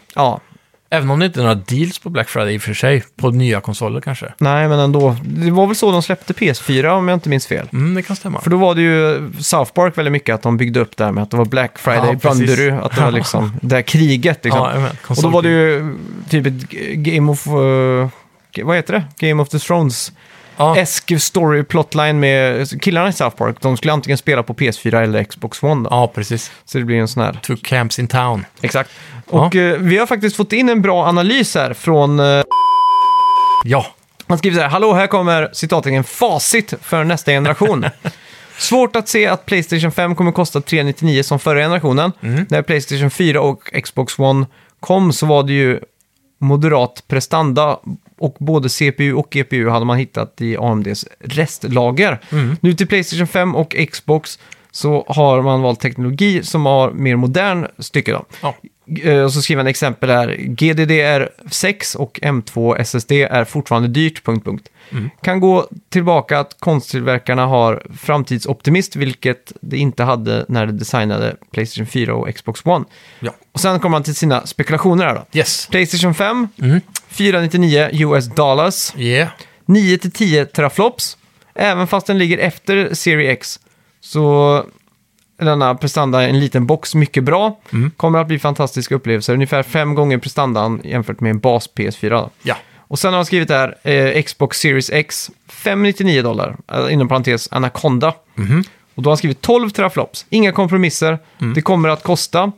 S2: Även om det inte är några deals på Black Friday i och för sig, på nya konsoler kanske.
S1: nej men ändå. Det var väl så de släppte PS4 om jag inte minns fel.
S2: Mm, det kan stämma.
S1: För då var det ju South Park väldigt mycket att de byggde upp det här med att det var Black Friday,
S2: Ja, precis.
S1: Banderu, att det var liksom det här kriget. Liksom.
S2: Ja, jajamän.
S1: Och då var det ju typ ett g- Game of... eh, g- vad heter det? Game of the Thrones.
S2: Ja.
S1: Esk story plotline med killarna i South Park. De skulle antingen spela på PS4 eller Xbox One. Då.
S2: ja, precis.
S1: Så det blir en sån här...
S2: Two camps in town.
S1: Exakt. Och eh, vi har faktiskt fått in en bra analys här från... eh,
S2: Ja,
S1: han skriver så här, hallå, här kommer citattecken facit för nästa generation. Svårt att se att Playstation 5 kommer kosta 399 som förra generationen. När Playstation 4 och Xbox One kom så var det ju moderat prestanda och både CPU och GPU hade man hittat i AMDs restlager. Nu till Playstation 5 och Xbox så har man valt teknologi som har mer modern stycke. Då.
S2: ja.
S1: Eh, Och så skriver han exempel här. GDDR6 och M2 SSD är fortfarande dyrt, punkt, punkt. Kan gå tillbaka att konsttillverkarna har framtidsoptimist, vilket de inte hade när de designade Playstation 4 och Xbox One.
S2: ja.
S1: Och sen kommer han till sina spekulationer här då.
S2: Yes.
S1: Playstation 5, 499 US dollars,
S2: Yeah.
S1: 9-10 teraflops. Även fast den ligger efter Serie X så är denna prestanda en liten box mycket bra. Kommer att bli fantastiska upplevelser. Ungefär fem gånger prestandan jämfört med en bas PS4. då.
S2: Ja.
S1: Och sen har han skrivit där eh, Xbox Series X 599 dollar, eh, inom parentes Anaconda. Och då har han skrivit 12 teraflops, inga kompromisser, det kommer att kosta.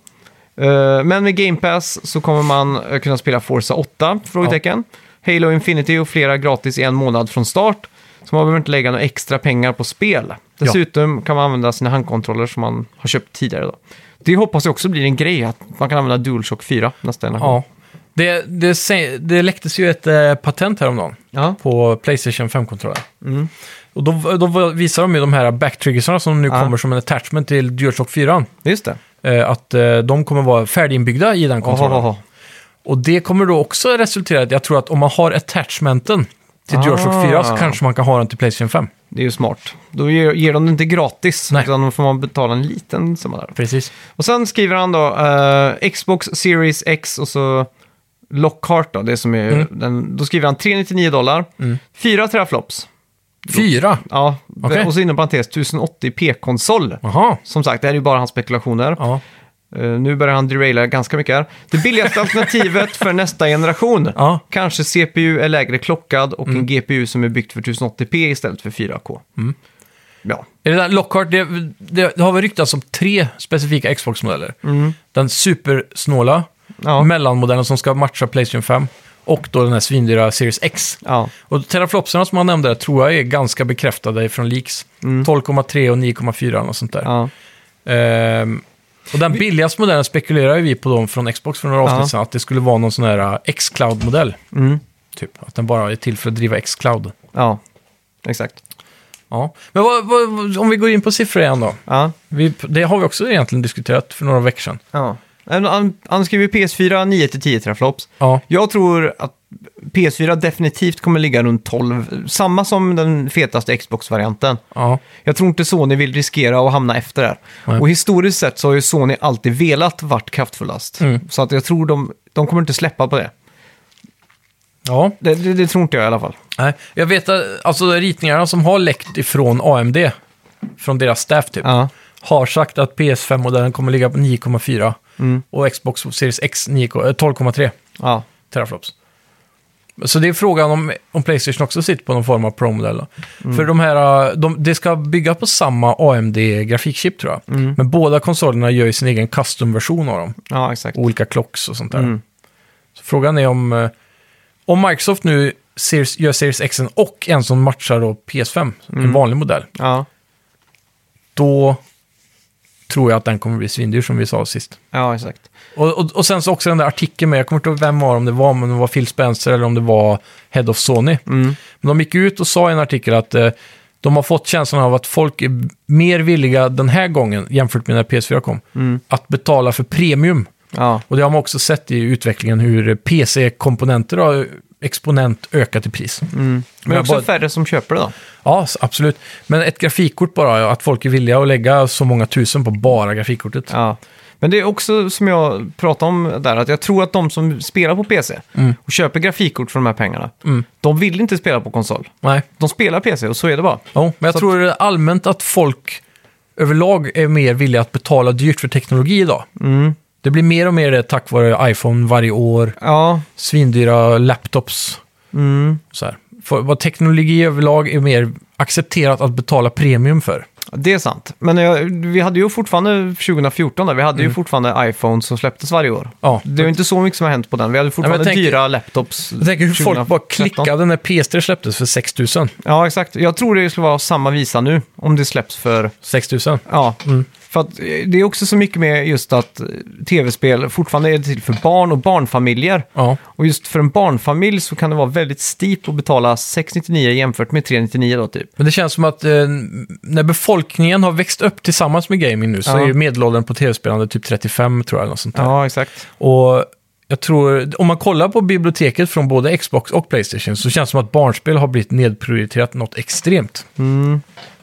S1: Eh, men med Game Pass så kommer man eh, kunna spela Forza 8? Frågetecken. Halo Infinity och flera gratis i en månad från start. Så man behöver inte lägga några extra pengar på spel. Dessutom kan man använda sina handkontroller som man har köpt tidigare. Då. Det hoppas jag också blir en grej, att man kan använda DualShock 4 nästa generation.
S2: ja. Det, det, sä- det läcktes ju ett eh, patent häromdagen.
S1: Ja. Mm.
S2: på Playstation 5-kontrollen. Och då, då visar de ju de här backtriggersarna som nu
S1: Ja.
S2: kommer som en attachment till DualShock 4.
S1: Just det.
S2: Eh, att eh, de kommer vara färdiginbyggda i den kontrollen.
S1: Ohohoho.
S2: Och det kommer då också resultera i att jag tror att om man har attachmenten till DualShock 4 så
S1: Ah.
S2: kanske man kan ha den till Playstation 5.
S1: Det är ju smart. Då ger, ger de det inte gratis,
S2: Nej.
S1: utan då får man betala en liten summa där.
S2: Precis.
S1: Och sen skriver han då eh, Xbox Series X och så Lockhart då, det som är
S2: Mm.
S1: den, Då skriver han 399 dollar,
S2: Mm.
S1: fyra teraflops.
S2: Fyra?
S1: Ja,
S2: Okej.
S1: och så inom parentes 1080p-konsol.
S2: Jaha.
S1: Som sagt, det här är ju bara hans spekulationer.
S2: Ja.
S1: Eh, nu börjar han deraila ganska mycket här. Det billigaste alternativet för nästa generation.
S2: Ja. Mm.
S1: Kanske CPU är lägre klockad och en GPU som är byggt för 1080p istället för 4K. Ja,
S2: Är det där Lockhart, det, det, det har väl ryktats om tre specifika Xbox-modeller. Den supersnåla,
S1: Ja.
S2: mellanmodellen som ska matcha Playstation 5 och då den här svindyra Series X.
S1: ja.
S2: Och teraflopsarna som han nämnde där tror jag är ganska bekräftade från leaks. 12,3 och 9,4 och sånt där.
S1: ja.
S2: Ehm, och den billigaste modellen spekulerar ju vi på dem från Xbox för några avsnitt
S1: Ja.
S2: sedan, att det skulle vara någon sån här eh, X-Cloud-modell. Typ, att den bara är till för att driva X-Cloud.
S1: ja. exakt.
S2: Ja. Men vad, vad, om vi går in på siffror igen då.
S1: Ja.
S2: Vi, det har vi också egentligen diskuterat för några veckor sedan.
S1: Ja. Han- Han, han skriver PS4 9-10 teraflops.
S2: Ja,
S1: Jag tror att PS4 definitivt kommer ligga runt 12, samma som den fetaste Xbox-varianten.
S2: ja,
S1: Jag tror inte Sony vill riskera att hamna efter där.
S2: Nej.
S1: Och historiskt sett så har ju Sony alltid velat vart kraftfullast.
S2: Mm.
S1: Så att jag tror de, de kommer inte släppa på det.
S2: ja.
S1: Det, det. det tror inte jag i alla fall.
S2: Nej. Jag vet att alltså, ritningarna som har läckt ifrån AMD, från deras staff typ,
S1: Ja,
S2: har sagt att PS5-modellen kommer ligga på 9,4 och Xbox Series X 9 ko- eh, 12,3
S1: ja,
S2: teraflops. Så det är frågan om, om Playstation också sitter på någon form av Pro-modell. då. För de här, eh, de, det ska bygga på samma AMD-grafikchip tror jag. Men båda konsolerna gör ju sin egen custom-version av dem.
S1: ja exakt.
S2: olika clocks och sånt där.
S1: Mm.
S2: Så frågan är om, eh, om Microsoft nu Series, gör Series X och en som matchar då PS5, en vanlig modell,
S1: Ja,
S2: då tror jag att den kommer bli svindyr som vi sa sist.
S1: ja exakt.
S2: Och, och, och sen så också den där artikeln med, jag kommer inte ihåg vem var om det var, men det var Phil Spencer eller om det var Head of Sony.
S1: Mm.
S2: Men de gick ut och sa i en artikel att eh, de har fått känslan av att folk är mer villiga den här gången, jämfört med när PS4 kom,
S1: Mm.
S2: att betala för premium.
S1: Ja,
S2: Och det har man också sett i utvecklingen hur PC-komponenter har exponent ökat i pris.
S1: Mm. men
S2: jag
S1: också
S2: bara-
S1: färre som köper det då.
S2: Ja, s- absolut. Men ett grafikkort bara, ja, att folk är villiga att lägga så många tusen på bara grafikkortet.
S1: Ja. Men det är också som jag pratade om där, att jag tror att de som spelar på PC
S2: Mm.
S1: och köper grafikkort för de här pengarna, de vill inte spela på konsol.
S2: Nej,
S1: De spelar PC och så är det bara.
S2: jo, men jag
S1: Så
S2: tror allmänt att folk överlag är mer villiga att betala dyrt för teknologi idag. Det blir mer och mer det tack vare iPhone varje år,
S1: Ja,
S2: svindyra laptops. Så här. För, vad teknologi överlag är mer accepterat att betala premium för.
S1: det är sant. Men jag, vi hade ju fortfarande 2014, där, vi hade ju fortfarande iPhones som släpptes varje år.
S2: Mm. Ja,
S1: Det är ju inte så mycket som har hänt på den. Vi hade fortfarande
S2: tänk-
S1: dyra laptops.
S2: Jag tänker hur folk bara
S1: 2013.
S2: klickade när PS3 släpptes för 6000.
S1: Ja, exakt. Jag tror det skulle vara samma visa nu, om det släpps för
S2: 6000?
S1: Ja, för att eh, det är också så mycket med just att eh, tv-spel fortfarande är till för barn och barnfamiljer.
S2: Ja.
S1: Och just för en barnfamilj så kan det vara väldigt steep att betala 699 jämfört med 399 då typ.
S2: Men det känns som att eh, när befolkningen har växt upp tillsammans med gaming nu så
S1: Ja.
S2: är ju medelåldern på tv-spelande typ 35 tror jag. Eller något sånt där.
S1: Ja, exakt.
S2: Och jag tror, om man kollar på biblioteket från både Xbox och Playstation så känns det som att barnspel har blivit nedprioriterat något extremt. Det
S1: Mm.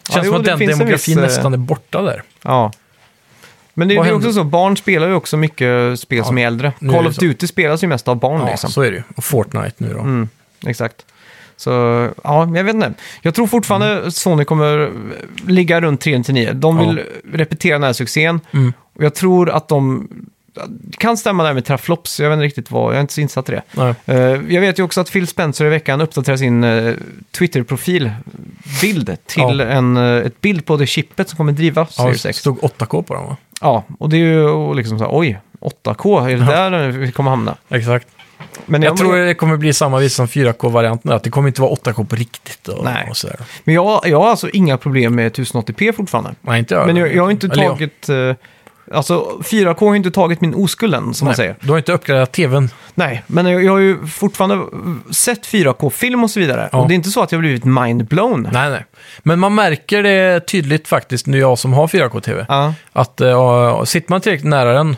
S1: Ja,
S2: känns
S1: jo,
S2: som att
S1: det
S2: den
S1: finns en
S2: demografin
S1: viss, eh,
S2: nästan är borta där.
S1: Ja. Men det, det
S2: Vad
S1: är
S2: händer?
S1: också så, barn spelar ju också mycket spel som är äldre.
S2: nu är
S1: Call
S2: det
S1: of
S2: så.
S1: Duty spelas ju mest av barn
S2: Ja,
S1: liksom.
S2: så är det ju. Och Fortnite nu då.
S1: Mm, exakt. Så, ja, jag vet inte. Jag tror fortfarande
S2: Mm.
S1: Sony kommer eh, ligga runt 399. De vill repetera den här succén.
S2: Mm.
S1: Och jag tror att de... Det kan stämma där med Traflops, jag vet inte riktigt vad, jag är inte så insatt i det.
S2: Nej.
S1: Eh, jag vet ju också att Phil Spencer i veckan uppdaterar sin eh, Twitter-profilbild till
S2: Ja.
S1: en eh, ett bild på det chippet som kommer driva
S2: Ja,
S1: Series
S2: det
S1: X.
S2: stod 8K på den va?
S1: Ja, och det är ju och liksom så här, oj, 8K, är det där vi kommer hamna?
S2: Exakt.
S1: Men
S2: Jag tror det kommer bli samma vis som 4K-varianten, att det kommer inte vara 8K på riktigt. Och,
S1: Nej.
S2: Och sådär.
S1: Men jag, jag har alltså inga problem med 1080p fortfarande.
S2: Nej, inte jag.
S1: Men jag, jag har inte
S2: Eller ja.
S1: tagit... eh, Alltså 4K har inte tagit min oskuld än, som man
S2: Nej,
S1: säger.
S2: Du har inte uppgraderat tvn.
S1: Nej, men jag, jag har ju fortfarande eh, sett 4K-film och så vidare.
S2: Ja.
S1: Och det är inte så att jag har blivit mindblown.
S2: Nej, nej. Men man märker det tydligt faktiskt, nu jag som har 4K-tv,
S1: Ja,
S2: att eh, sitter man tillräckligt nära den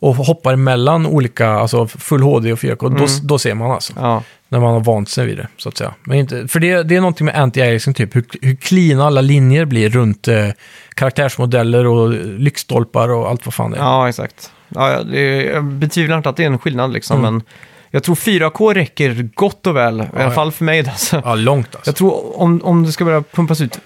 S2: och hoppar mellan olika, alltså full HD och 4K, då, då ser man alltså.
S1: Mm. Ja.
S2: När man har vant sig vid det, så att säga. Men inte, för det, det är någonting med anti-aliasing, typ hur, hur cleana alla linjer blir runt eh, karaktärsmodeller och lyktstolpar och allt vad fan det är.
S1: Ja, exakt. Ja, ja, det, jag betvivlar inte att det är en skillnad liksom, men jag tror 4K räcker gott och väl, i alla
S2: Mm. ja.
S1: fall för mig. Alltså.
S2: Ja, långt alltså.
S1: Jag tror om, om det ska börja pumpas ut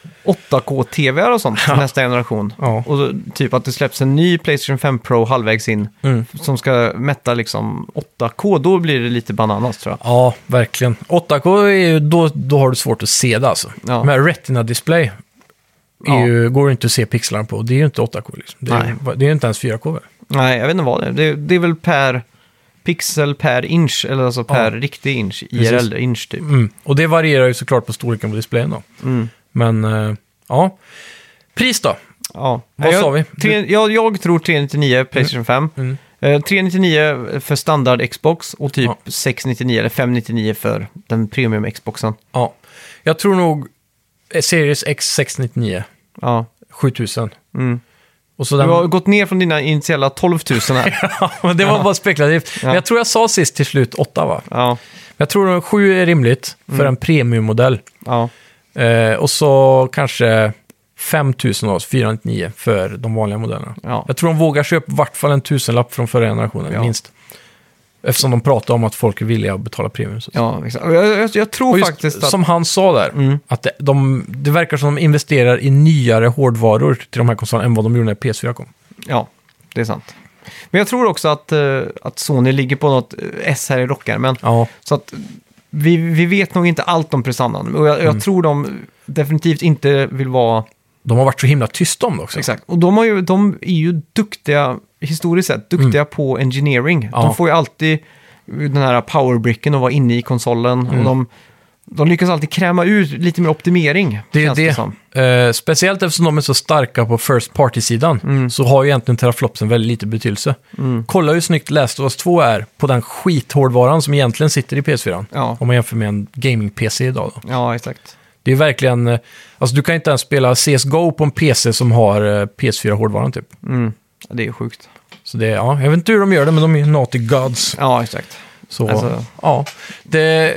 S1: 8K-TV och sånt till nästa generation,
S2: Ja.
S1: och då, typ att det släpps en ny Playstation 5 Pro halvvägs in,
S2: Mm.
S1: som ska mätta liksom 8K, då blir det lite bananas tror jag.
S2: Ja, verkligen. 8K, är ju, då, då har du svårt att se det alltså.
S1: Ja.
S2: Men Retina Display är
S1: Ja.
S2: ju, går ju inte att se pixlarna på. Det är ju inte 8K liksom. Det är, ju- det är ju inte ens 4K väl?
S1: Nej, jag vet inte vad det är. Det, det är väl per pixel per inch, eller alltså per riktig inch, IRL inch typ.
S2: Mm. Och det varierar ju såklart på storleken på displayen då. Men, eh, ja. Pris då?
S1: Ja.
S2: Vad
S1: jag,
S2: sa vi? Mm.
S1: Tre, jag, jag tror 399 Playstation 5. Eh, 399 för standard Xbox och typ
S2: Ja.
S1: 699 eller 599 för den premium Xboxen.
S2: Ja. Jag tror nog eh, Series X 699,
S1: Ja.
S2: 7000.
S1: Mm.
S2: Och så
S1: Du
S2: den...
S1: har gått ner från dina initiala 12 000 här.
S2: Ja, men det var bara spekulativt. Men jag tror jag sa sist till slut 8 va?
S1: ja,
S2: Jag tror 7 är rimligt för en premiummodell.
S1: ja,
S2: Eh, och så kanske 5000 av oss, 499 för de vanliga modellerna.
S1: Ja.
S2: Jag tror de vågar köpa i vart fall en tusenlapp från förra generationen,
S1: Ja.
S2: minst. Eftersom de pratar om att folk är villiga att betala premium. Så. att säga.
S1: ja exakt. Och Jag, jag, jag tror
S2: Och just
S1: faktiskt att... Mm.
S2: som han sa där, att det, de, det verkar som de investerar i nyare hårdvaror till de här konsolerna än vad de gjorde när PS4 kom.
S1: Ja, det är sant. Men jag tror också att, eh, att Sony ligger på något eh, S här i rockärmen.
S2: Ja,
S1: Så att vi, vi vet nog inte allt om prestandan. Och jag, jag tror de definitivt inte vill vara...
S2: de har varit så himla tysta om det också.
S1: Exakt. Och de, har ju, de är ju duktiga, historiskt sett, duktiga på engineering.
S2: Ja.
S1: De får ju alltid den här powerbricken och vara inne i konsolen. Och de, de lyckas alltid kräma ut lite mer optimering.
S2: Det är
S1: känns
S2: det.
S1: som.
S2: Eh, speciellt eftersom de är så starka på first party-sidan
S1: Mm.
S2: så har ju egentligen teraflopsen väldigt lite betydelse. Kolla hur snyggt Last of Us 2 är på den skithårdvaran som egentligen sitter i PS4.
S1: Ja.
S2: Om man jämför med en gaming-PC idag. Då.
S1: Ja, exakt.
S2: Det är verkligen... eh, Alltså du kan inte ens spela CSGO på en PC som har eh, PS4-hårdvaran typ.
S1: Mm. Ja, det är sjukt.
S2: Så det är, ja, jag vet inte hur de gör det, men de är ju naughty gods.
S1: Ja, exakt.
S2: Så,
S1: Alltså-
S2: ja. Det,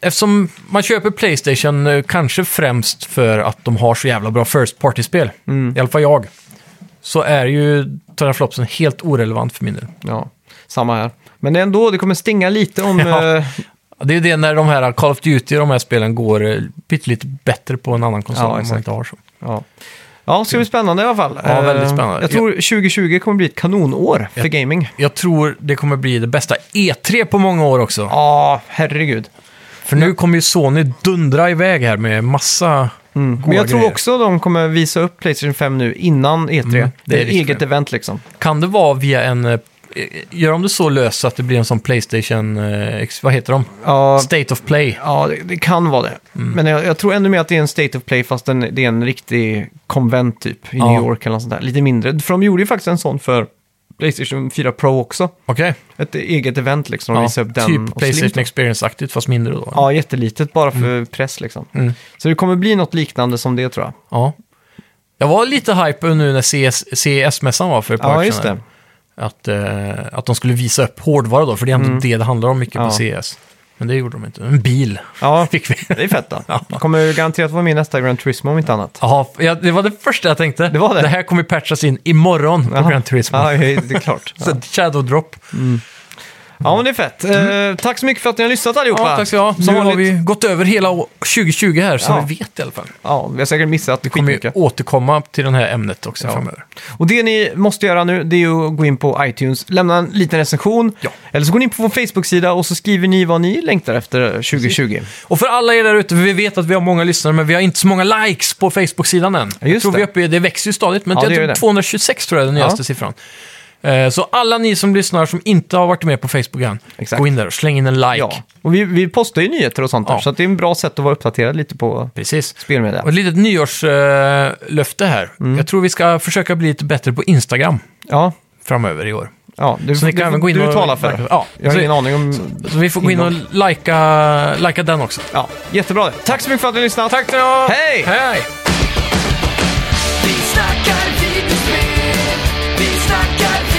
S2: eftersom man köper Playstation eh, kanske främst för att de har så jävla bra first party-spel,
S1: Mm.
S2: i alla fall jag, så är ju teraflopsen helt orelevant för min del.
S1: Ja, samma här. Men ändå, det kommer stinga lite om...
S2: Ja.
S1: eh,
S2: Det är ju det när de här Call of Duty och de här spelen går eh, pyttelite bättre på en annan konsol
S1: Ja,
S2: om man
S1: exakt.
S2: inte har så.
S1: Ja. Ja, det ska bli spännande i alla fall.
S2: Ja, väldigt
S1: Eh,
S2: spännande.
S1: Jag tror 2020 kommer bli ett kanonår för gaming.
S2: Jag tror det kommer bli det bästa E3 på många år också.
S1: Ja, herregud.
S2: För nu kommer ju Sony dundra iväg här med massa goda
S1: Men jag tror
S2: grejer.
S1: också de kommer visa upp Playstation 5 nu innan E3.
S2: Mm, det
S1: det
S2: är
S1: är ett
S2: risk för
S1: eget
S2: det.
S1: event liksom.
S2: Kan det vara via en... eh, Gör de det så löst så att det blir en sån Playstation... eh, ex- Vad heter de?
S1: Ja,
S2: State of Play.
S1: ja det, det kan vara det. Men jag, jag tror ännu mer att det är en State of Play fast en, det är en riktig konvent typ i
S2: Ja.
S1: New York eller något sånt där. Lite mindre. För de gjorde ju faktiskt en sån för Playstation 4 Pro också.
S2: Okej.
S1: Ett eget event liksom. De
S2: Ja,
S1: visade upp den
S2: typ
S1: och Slim.
S2: Playstation Experience-aktigt fast mindre då.
S1: Ja, jättelitet bara för press liksom.
S2: Mm.
S1: Så det kommer bli något liknande som det tror jag.
S2: Ja. Jag var lite hype nu när CS, CES-mässan var för ett par
S1: Ja,
S2: år
S1: just
S2: sedan.
S1: det.
S2: Att, eh, att de skulle visa upp hårdvara då, för det är ändå det det handlar om mycket på
S1: Ja.
S2: CES. Men det gjorde de inte. En bil
S1: Ja,
S2: fick vi.
S1: det är fett då.
S2: Ja.
S1: Kommer ju garanterat vara med i nästa Grand Turismo om inte annat.
S2: Jaha, ja, det var det första jag tänkte.
S1: Det var det.
S2: här kommer patchas in imorgon på Gran Turismo.
S1: Ja, det är klart.
S2: Så Shadow Drop.
S1: Ja, men det är fett. Eh, tack så mycket för att ni har lyssnat allihopa.
S2: Mm. Ja, tack ska du ha.
S1: Som
S2: Nu har
S1: vanligt.
S2: vi gått över hela å- 2020 här, så
S1: Ja.
S2: vi vet i alla fall.
S1: Ja, vi har säkert missat
S2: Vi kommer ju
S1: skitmycket.
S2: återkomma till det här ämnet också
S1: Ja.
S2: framöver.
S1: Och det ni måste göra nu, det är ju att gå in på iTunes, lämna en liten recension.
S2: Ja.
S1: Eller så går ni in på vår Facebook-sida och så skriver ni vad ni längtar efter 2020.
S2: Och för alla er där ute, vi vet att vi har många lyssnare, men vi har inte så många likes på Facebook-sidan än. jag
S1: just
S2: tror vi är
S1: det.
S2: uppe i, det växer ju stadigt, men
S1: Ja,
S2: jag
S1: det gör
S2: tror
S1: det.
S2: 226 tror jag är den
S1: Ja.
S2: nyaste siffran. Eh, Så alla ni som lyssnar som inte har varit med på Facebook än,
S1: Exakt.
S2: gå in där och släng in en like.
S1: Ja. Och vi, vi postar ju nyheter och sånt där,
S2: Ja.
S1: så att det är en bra sätt att vara uppdaterad lite på
S2: Precis.
S1: spelmedia.
S2: Och ett litet nyårslöfte här. Jag tror vi ska försöka bli lite bättre på Instagram
S1: Ja,
S2: framöver i år.
S1: ja du,
S2: Så ni kan
S1: du,
S2: även gå in
S1: du
S2: och-
S1: talar för. det.
S2: Ja.
S1: Jag har
S2: Så-
S1: ingen aning om...
S2: Så vi får gå in och likea, likea den också.
S1: Ja, jättebra det. Tack så mycket för att ni har lyssnat.
S2: Tack ska ni ha!
S1: Hej!
S2: Hej!
S3: Vi snackar videospel, vi snackar